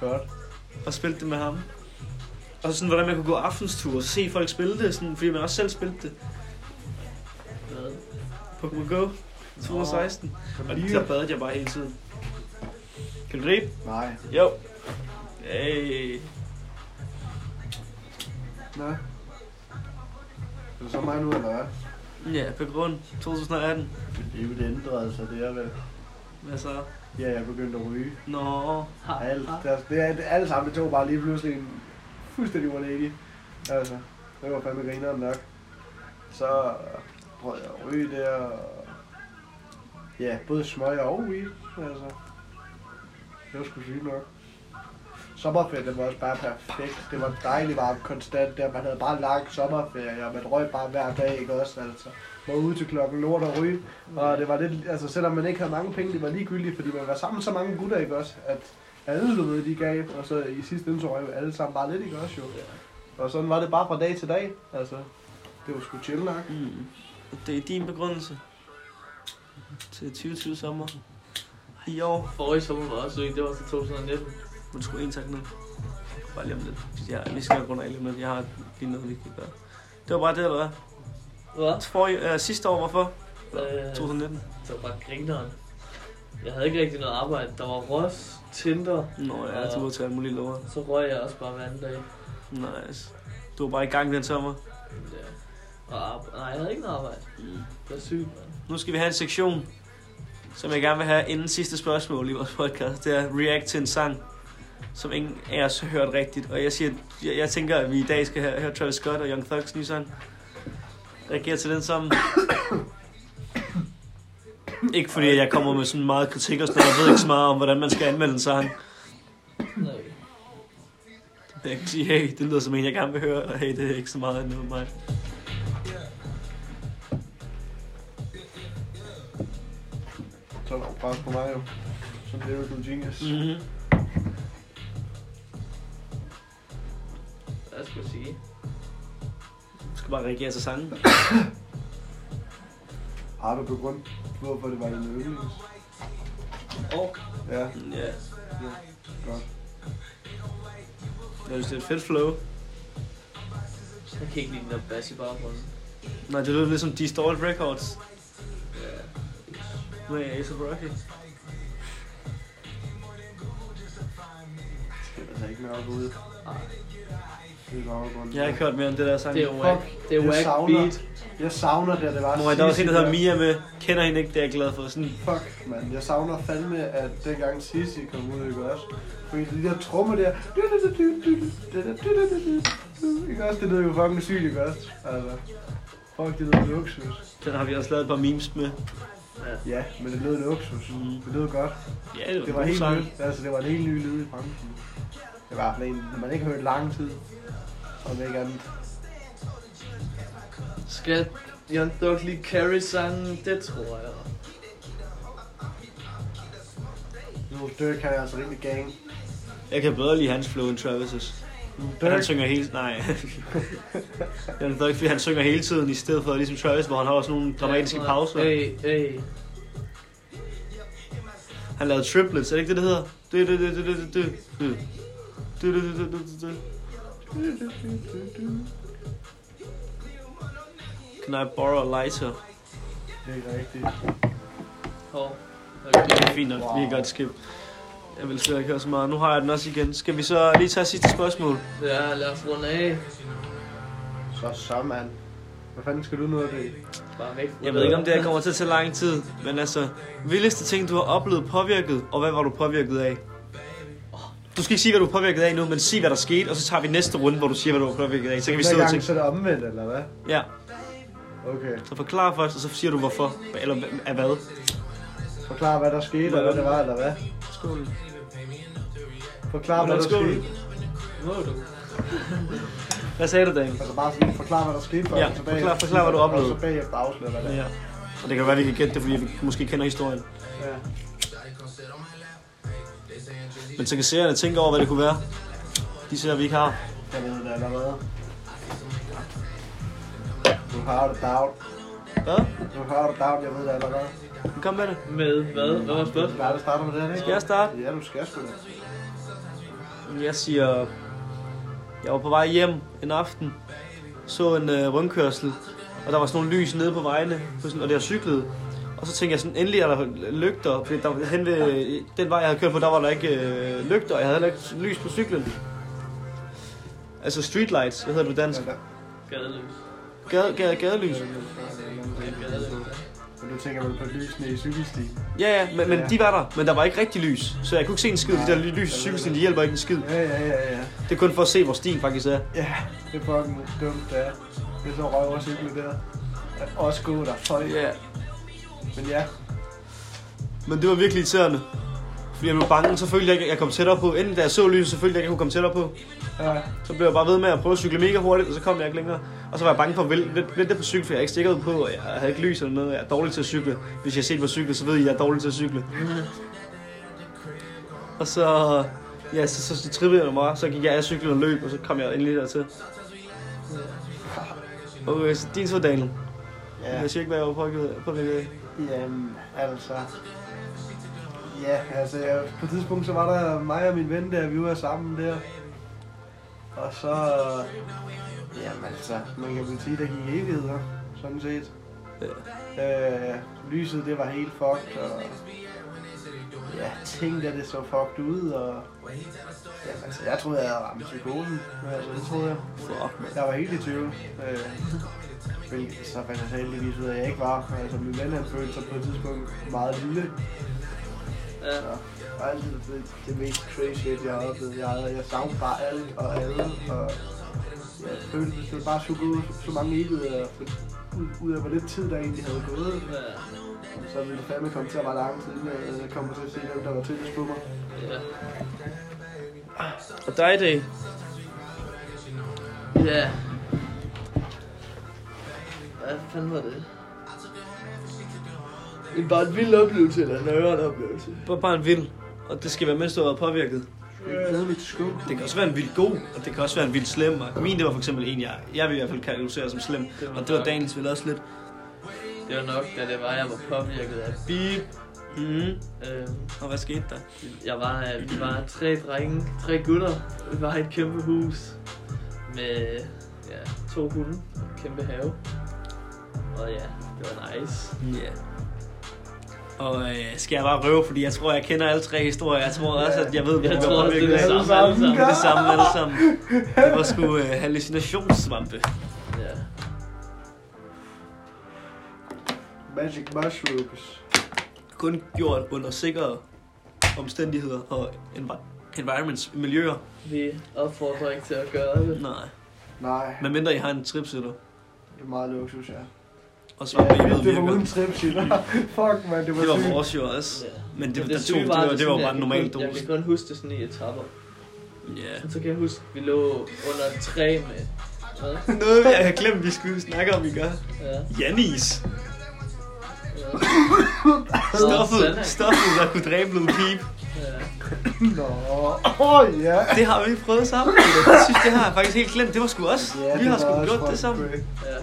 Speaker 3: godt.
Speaker 2: og spillede det med ham. Og sådan, hvordan man kunne gå aftenstur og se folk spille det, sådan, fordi man også selv spillede det.
Speaker 1: Hvad?
Speaker 2: Pokémon Go 2016. Og der badede jeg bare hele tiden. Kan du gribe?
Speaker 3: Nej.
Speaker 2: Jo. Hey.
Speaker 3: Nå. Det er så mig nu, eller hvad?
Speaker 2: Ja, på grund 2018.
Speaker 3: Livet ændrede sig, det er vel.
Speaker 2: Hvad så?
Speaker 3: Ja, jeg begyndte at ryge.
Speaker 2: Nå.
Speaker 3: Alt, det, er, det, er, det, alle sammen, det tog bare lige pludselig en fuldstændig 180. Altså, det var fandme grineren nok. Så prøvede jeg at ryge der, og ja, både smøg og weed, altså. Det var sgu sygt nok. Sommerferien den var også bare perfekt. Det var dejligt varmt konstant der. Man havde bare lang sommerferie, og man røg bare hver dag, ikke også? Altså, var ude til klokken lort og ryge. Og det var lidt, altså selvom man ikke havde mange penge, det var ligegyldigt, fordi man var sammen med så mange gutter, ikke også? At alle, du ved, de gav, og så i sidste ende, så røg alle sammen bare lidt, ikke også jo? Og sådan var det bare fra dag til dag, altså. Det var sgu chill nok.
Speaker 2: Mm. Det er din begrundelse til 2020 sommer. I år.
Speaker 1: Forrige sommer var også syg. Det var så 2019.
Speaker 2: Men skulle en tak ned. Bare lige om lidt. fordi Jeg, vi skal runde af lige om lidt. Jeg har lige noget, vi kan gøre. Det var bare det, eller hvad?
Speaker 1: Hvad?
Speaker 2: For, øh, sidste år, hvorfor?
Speaker 1: Øh,
Speaker 2: 2019.
Speaker 1: det var bare grineren. Jeg havde ikke rigtig noget arbejde. Der var Ross, Tinder,
Speaker 2: Nå, jeg er ude til alle mulige lover.
Speaker 1: så røg jeg også bare hver anden dag.
Speaker 2: Nice. Du var bare i gang den sommer.
Speaker 1: Ja. Og arbe- nej, jeg havde ikke noget arbejde. Det var sygt, mand.
Speaker 2: Nu skal vi have en sektion, som jeg gerne vil have inden sidste spørgsmål i vores podcast. Det er react til en sang, som ingen af os har hørt rigtigt. Og jeg, siger, jeg, jeg tænker, at vi i dag skal have, høre Travis Scott og Young Thugs nye sang. Reagerer til den sammen. ikke fordi at jeg kommer med sådan meget kritik og sådan noget. Jeg ved ikke så meget om, hvordan man skal anmelde en sang.
Speaker 1: Nej.
Speaker 2: Jeg kan sige, hey, det lyder som en, jeg gerne vil høre. Og hey, det er ikke så meget noget mig.
Speaker 3: Så var det bare på mig jo. Så blev det jo du genius.
Speaker 2: Mm-hmm.
Speaker 1: Hvad skal jeg sige?
Speaker 2: Du skal bare reagere til sangen.
Speaker 3: Har du begrund, hvorfor det var din yndlings?
Speaker 1: Og
Speaker 3: Ja,
Speaker 2: Ja.
Speaker 3: godt.
Speaker 2: Jeg synes, det er et fedt flow.
Speaker 1: jeg kan ikke lide den der bass i baggrunden.
Speaker 2: Nej, det lyder lidt som Distort Records. Med Ace of Rocky.
Speaker 3: Altså ikke mørk ude. Det er baggrunden.
Speaker 2: Jeg har ikke hørt mere om det der sang.
Speaker 1: Det er whack. Det er
Speaker 3: Jeg
Speaker 1: whack
Speaker 3: savner-
Speaker 1: beat.
Speaker 3: Jeg savner det, det var
Speaker 2: Mor, der er også en, der hedder
Speaker 3: Sissi,
Speaker 2: Mia med. Kender hende ikke, det er jeg glad for. Sådan,
Speaker 3: Fuck, mand. Jeg savner fandme, at dengang Sissi kom ud, ikke også? Fordi de der trommer der... Ikke også? Det lyder jo fucking sygt, ikke også? Altså... Fuck, det lyder luksus.
Speaker 2: den har vi også lavet et par memes med.
Speaker 3: Ja, men det lød luksus.
Speaker 2: Mm.
Speaker 3: Det lød godt.
Speaker 2: Ja, det var,
Speaker 3: Det var
Speaker 2: en
Speaker 3: helt
Speaker 2: sang.
Speaker 3: nyt. Altså, det var en helt ny lyd i branchen. Det var i hvert fald en, man ikke har hørt i lang tid. Om ikke andet.
Speaker 1: Skal Jan Dog lige carry sangen? Det tror jeg.
Speaker 3: Nu Dirk han er altså rimelig gang.
Speaker 2: Jeg kan bedre lide hans flow end Travis'.
Speaker 3: Nu
Speaker 2: Men han
Speaker 3: Dirk,
Speaker 2: synger hele... Nej. jeg ved ikke, fordi han synger hele tiden, i stedet for ligesom Travis, hvor han har også nogle dramatiske pauser.
Speaker 1: Hey, hey.
Speaker 2: Han lavede triplets, er det ikke det, det hedder? Du, du, du, du, du, du, du. Du, du, du, du, du, du, du. Can I borrow a lighter?
Speaker 3: det er ikke rigtigt.
Speaker 1: Hov.
Speaker 2: Det
Speaker 1: Okay.
Speaker 2: er fint nok,
Speaker 3: Wow.
Speaker 2: vi kan godt skip. Jeg vil slet ikke høre så meget. Nu har jeg den også igen. Skal vi så lige tage sidste spørgsmål?
Speaker 1: Ja, lad os runde af.
Speaker 3: Så så, mand. Hvad fanden skal du nu af det?
Speaker 1: Bare væk.
Speaker 2: Jeg ved ikke, om det her kommer til at tage lang tid, men altså, vildeste ting, du har oplevet påvirket, og hvad var du påvirket af? Du skal ikke sige, hvad du er påvirket af nu, men sig, hvad der skete, og så tager vi næste runde, hvor du siger, hvad du var påvirket af. Så kan vi sidde
Speaker 3: Hver
Speaker 2: og
Speaker 3: gang
Speaker 2: tænke,
Speaker 3: så er det omvendt, eller hvad?
Speaker 2: ja,
Speaker 3: Okay.
Speaker 2: så forklar først, og så siger du hvorfor, eller hva- af hvad.
Speaker 3: Forklar, hvad der skete, og hvad det var, eller hvad?
Speaker 2: Skål.
Speaker 3: Forklar, hvad der
Speaker 2: Hvordan skål?
Speaker 3: skete.
Speaker 1: Må du?
Speaker 2: Hvad sagde du, Daniel?
Speaker 3: Altså bare sådan, forklar, hvad der skete, for
Speaker 2: Ja,
Speaker 3: og så bagefter-
Speaker 2: forklar- forklar, hvad du oplevede.
Speaker 3: Og så bagefter afsløre, hvad det er.
Speaker 2: Ja. Og det kan være, vi kan gætte det, fordi vi måske kender historien.
Speaker 3: Ja.
Speaker 2: Men så kan seerne tænke over, hvad det kunne være. De ser, vi ikke har.
Speaker 3: Jeg ved det allerede. Du har det down.
Speaker 2: Hvad?
Speaker 3: Du har det down, jeg ved det allerede.
Speaker 2: Kom med det.
Speaker 1: Med hvad? Hvad var
Speaker 3: Du
Speaker 1: spørgsmålet?
Speaker 3: skal aldrig starte med det her, ikke?
Speaker 2: Skal jeg starte?
Speaker 3: Ja, du skal sgu da.
Speaker 2: Jeg siger, jeg var på vej hjem en aften, så en øh, rundkørsel, og der var sådan nogle lys nede på vejene, på sådan, og det har cyklet. Og så tænkte jeg sådan, endelig er der lygter, fordi der, hen ved, den vej, jeg havde kørt på, der var der ikke øh, lygter, og jeg havde heller ikke lys på cyklen. Altså streetlights, hvad hedder det på dansk?
Speaker 3: Ja, da.
Speaker 1: Gadeløs.
Speaker 2: Gade, gade, gadelys.
Speaker 3: Men du tænker vel på lysene i cykelstien?
Speaker 2: Ja, ja, men, men de var der, men der var ikke rigtig lys, så jeg kunne ikke se en skid, de der lys i cykelstien, de hjælper ikke en skid.
Speaker 3: Ja, ja, ja, ja.
Speaker 2: Det er kun for at se, hvor stien faktisk er.
Speaker 3: Ja, det er fucking dumt, det er. Det er så røv og cykle der. Ja, Også gå der, folk.
Speaker 2: Ja,
Speaker 3: Men ja,
Speaker 2: Men det var virkelig irriterende. Fordi jeg blev bange, så følte jeg ikke, at jeg kom tættere på. Inden da jeg så lyset, så følte jeg ikke, at jeg kunne komme tættere på.
Speaker 3: ja.
Speaker 2: Så blev jeg bare ved med at prøve at cykle mega hurtigt, og så kom jeg ikke længere. Og så var jeg bange for at vælte, vælte på cykel, for jeg er ikke sikkerhed på, og jeg havde ikke lys eller noget. Jeg er dårlig til at cykle. Hvis jeg set på cykle, så ved I, at jeg er dårlig til at cykle. Og så... Ja, så, så, så trippede jeg mig, så gik jeg af cyklen og løb, og så kom jeg endelig dertil. Okay, så din tur, Daniel.
Speaker 3: Ja,
Speaker 2: Jeg siger ikke, hvad jeg var påvirket påvirket af.
Speaker 3: jamen, altså... Ja, altså, jeg, på et tidspunkt, så var der mig og min ven der, vi var sammen der. Og så... Jamen altså, man kan vel sige, der gik evigheder, sådan set. Ja. Øh, lyset, det var helt fucked, og... Ja, tænkte, at det så fucked ud, og... Jamen altså, jeg troede, jeg havde ramt psykosen. Altså, det troede jeg.
Speaker 2: Fuck, man.
Speaker 3: Jeg var helt i tvivl. Øh, hvilket så fandt jeg så heldigvis ud af, at jeg ikke var. Altså, min ven han følte sig på et tidspunkt meget lille.
Speaker 1: Ja.
Speaker 3: Så alt det, det, det mest crazy, shit, jeg har oplevet. Jeg, jeg savnede bare alt og alle. Og jeg følte, at det bare skulle gå så mange evigheder. ud- Ud af, hvor lidt tid der egentlig havde gået. Så ville det fandme komme til at være lang tid, inden jeg kom til at se dem, der var tættest på mig.
Speaker 1: Ja.
Speaker 2: Og dig, Daniel.
Speaker 1: Ja. Hvad fanden var det? Det er bare en vild oplevelse, eller en nøjeren oplevelse.
Speaker 2: Det var bare en vild, og det skal være, mens du har været påvirket.
Speaker 3: Jeg glæder mit skub.
Speaker 2: Det kan også være en vild god, og det kan også være en vild slem. og Min, det var for eksempel en, jeg, jeg vil i hvert fald kategorisere som slem.
Speaker 1: Det var
Speaker 2: Og det var
Speaker 1: nok-
Speaker 2: Daniels vel også lidt.
Speaker 1: Det var nok, da det var, jeg var påvirket af beep.
Speaker 2: Mm.
Speaker 1: Øhm,
Speaker 2: Og hvad skete der?
Speaker 1: Jeg var, øh, vi var tre drenge, tre gutter. Vi var i et kæmpe hus med ja, to hunde og en kæmpe have. Og ja, det var nice.
Speaker 2: Ja. Og øh, skal jeg bare røve, fordi jeg tror, jeg kender alle tre historier. Jeg tror også, at jeg ved,
Speaker 1: Jeg
Speaker 2: hvor-
Speaker 1: tror også, det er det
Speaker 2: hvor-
Speaker 1: samme. altså. alle sammen.
Speaker 2: Det er det samme alle sammen. Det var sgu øh, hallucinationssvampe.
Speaker 1: Ja.
Speaker 3: Magic mushrooms.
Speaker 2: Kun gjort under sikre omstændigheder og envi- environments, miljøer.
Speaker 1: Vi opfordrer ikke til at gøre det.
Speaker 2: Nej.
Speaker 3: Nej,
Speaker 2: Men mindre I har en tripsitter.
Speaker 3: det er meget luksus, ja.
Speaker 2: Og
Speaker 3: Ja,
Speaker 2: svampe, I ved
Speaker 3: det, det var
Speaker 2: virker.
Speaker 3: uden trips i dig. Fuck, man, det var,
Speaker 2: Det var
Speaker 3: sygt.
Speaker 2: vores jo også.
Speaker 1: Ja.
Speaker 2: Men det,
Speaker 1: Men
Speaker 2: det, der tog,
Speaker 1: syge
Speaker 2: det, var,
Speaker 1: at
Speaker 2: det var
Speaker 1: sådan,
Speaker 2: bare en
Speaker 1: jeg
Speaker 2: normal
Speaker 1: kan kun- Jeg
Speaker 2: dose.
Speaker 1: kan kun huske det sådan i etapper.
Speaker 2: Ja.
Speaker 1: Så kan jeg huske, vi lå under et træ med... Hvad?
Speaker 2: Noget, jeg har glemt, vi skulle snakke om i går.
Speaker 1: Ja.
Speaker 2: Jannis.
Speaker 1: ja.
Speaker 2: Stoffet, stoffet, der kunne dræbe Lil Peep.
Speaker 1: Ja.
Speaker 3: Nå, åh oh, ja.
Speaker 2: Det har vi prøvet sammen. Peter. Det synes jeg har jeg faktisk helt glemt. Det var sgu os.
Speaker 3: Ja,
Speaker 2: vi har
Speaker 3: det
Speaker 2: sgu
Speaker 3: var også
Speaker 2: gjort det
Speaker 3: fucking
Speaker 2: sammen.
Speaker 3: crazy.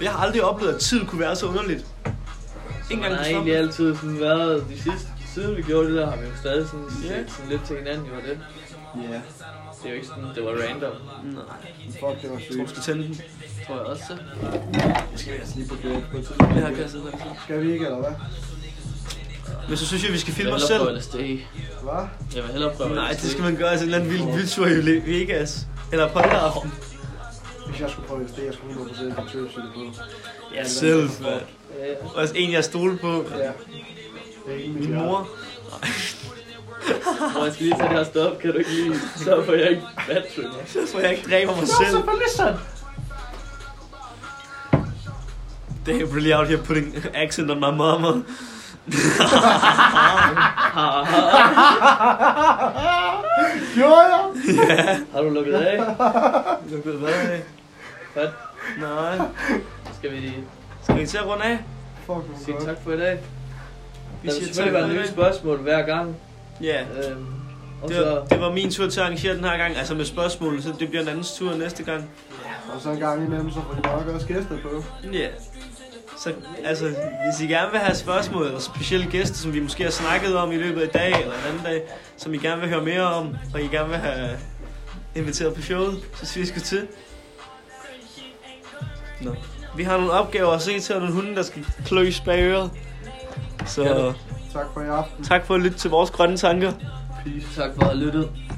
Speaker 1: ja.
Speaker 2: Jeg har aldrig oplevet, at tid kunne være så underligt. Ingen
Speaker 1: Man har
Speaker 2: engang
Speaker 1: egentlig
Speaker 2: sammen.
Speaker 1: altid sådan været, de sidste, siden vi gjorde det der, har vi jo stadig sådan,
Speaker 2: Ja.
Speaker 1: yeah. sådan lidt til hinanden, jo og det.
Speaker 3: Ja,
Speaker 1: Det er jo ikke sådan, det var random,
Speaker 2: Nej,
Speaker 3: fuck, det var
Speaker 2: jeg tror, du
Speaker 3: sygt.
Speaker 2: skal tænde den.
Speaker 1: tror jeg også.
Speaker 3: Skal vi altså lige på det på et
Speaker 2: Det her kan jeg
Speaker 3: tidspunkt?
Speaker 2: sidde der.
Speaker 3: Skal vi ikke, eller hvad?
Speaker 2: Men så synes jeg, vi skal
Speaker 1: Jeg
Speaker 2: filme
Speaker 1: vil
Speaker 2: os
Speaker 1: hellere
Speaker 2: selv.
Speaker 1: prøve LSD.
Speaker 3: Hvad?
Speaker 1: Jeg vil hellere prøve
Speaker 2: Nej,
Speaker 1: LSD.
Speaker 2: det skal man gøre i sådan en eller anden vild vildtur i Vegas. Eller på aften.
Speaker 3: Hvis jeg skulle prøve at jeg skulle 100% på trips i det på.
Speaker 2: Ja, selv, mand.
Speaker 1: Ja, ja.
Speaker 2: Også en, jeg stole på.
Speaker 3: Ja. Det er ikke mit
Speaker 2: Min
Speaker 3: hjerte.
Speaker 2: mor.
Speaker 1: Mor, jeg skal lige tage det her stop, kan du ikke lige, så får jeg ikke battery.
Speaker 2: Så jeg ikke dræber mig
Speaker 3: Nå,
Speaker 2: selv.
Speaker 3: selvfølgelig sådan.
Speaker 2: Damn, really out here putting accent on my mama.
Speaker 3: Gjorde jeg?
Speaker 1: Har du lukket af?
Speaker 2: Lukket hvad af?
Speaker 1: Hvad?
Speaker 2: Nej.
Speaker 1: Skal vi lige
Speaker 2: Skal vi til at runde af?
Speaker 3: Fuck, hvor
Speaker 1: sige
Speaker 3: godt.
Speaker 1: tak for i dag?
Speaker 2: Vi
Speaker 1: Der vil
Speaker 2: siger
Speaker 1: selvfølgelig være
Speaker 2: tak for i
Speaker 1: nye
Speaker 2: dag.
Speaker 1: spørgsmål hver gang.
Speaker 2: Ja.
Speaker 1: Øhm, og
Speaker 2: Det
Speaker 1: så...
Speaker 2: var, det var min tur til at arrangere den her gang, altså med spørgsmål, så det bliver en andens tur næste gang.
Speaker 3: Og så en gang imellem, så får de nok også gæster på.
Speaker 2: Ja. Yeah. Så altså, hvis I gerne vil have spørgsmål eller specielle gæster, som vi måske har snakket om i løbet af i dag eller en anden dag, som I gerne vil høre mere om, og I gerne vil have inviteret på showet, så siger I sgu til. Nå. Vi har nogle opgaver at se til, og nogle hunde, der skal kløs bag øret. Så
Speaker 1: Ja.
Speaker 3: Tak for i aften.
Speaker 2: tak for at lytte til vores grønne tanker.
Speaker 1: Peace. Tak for at have lyttet.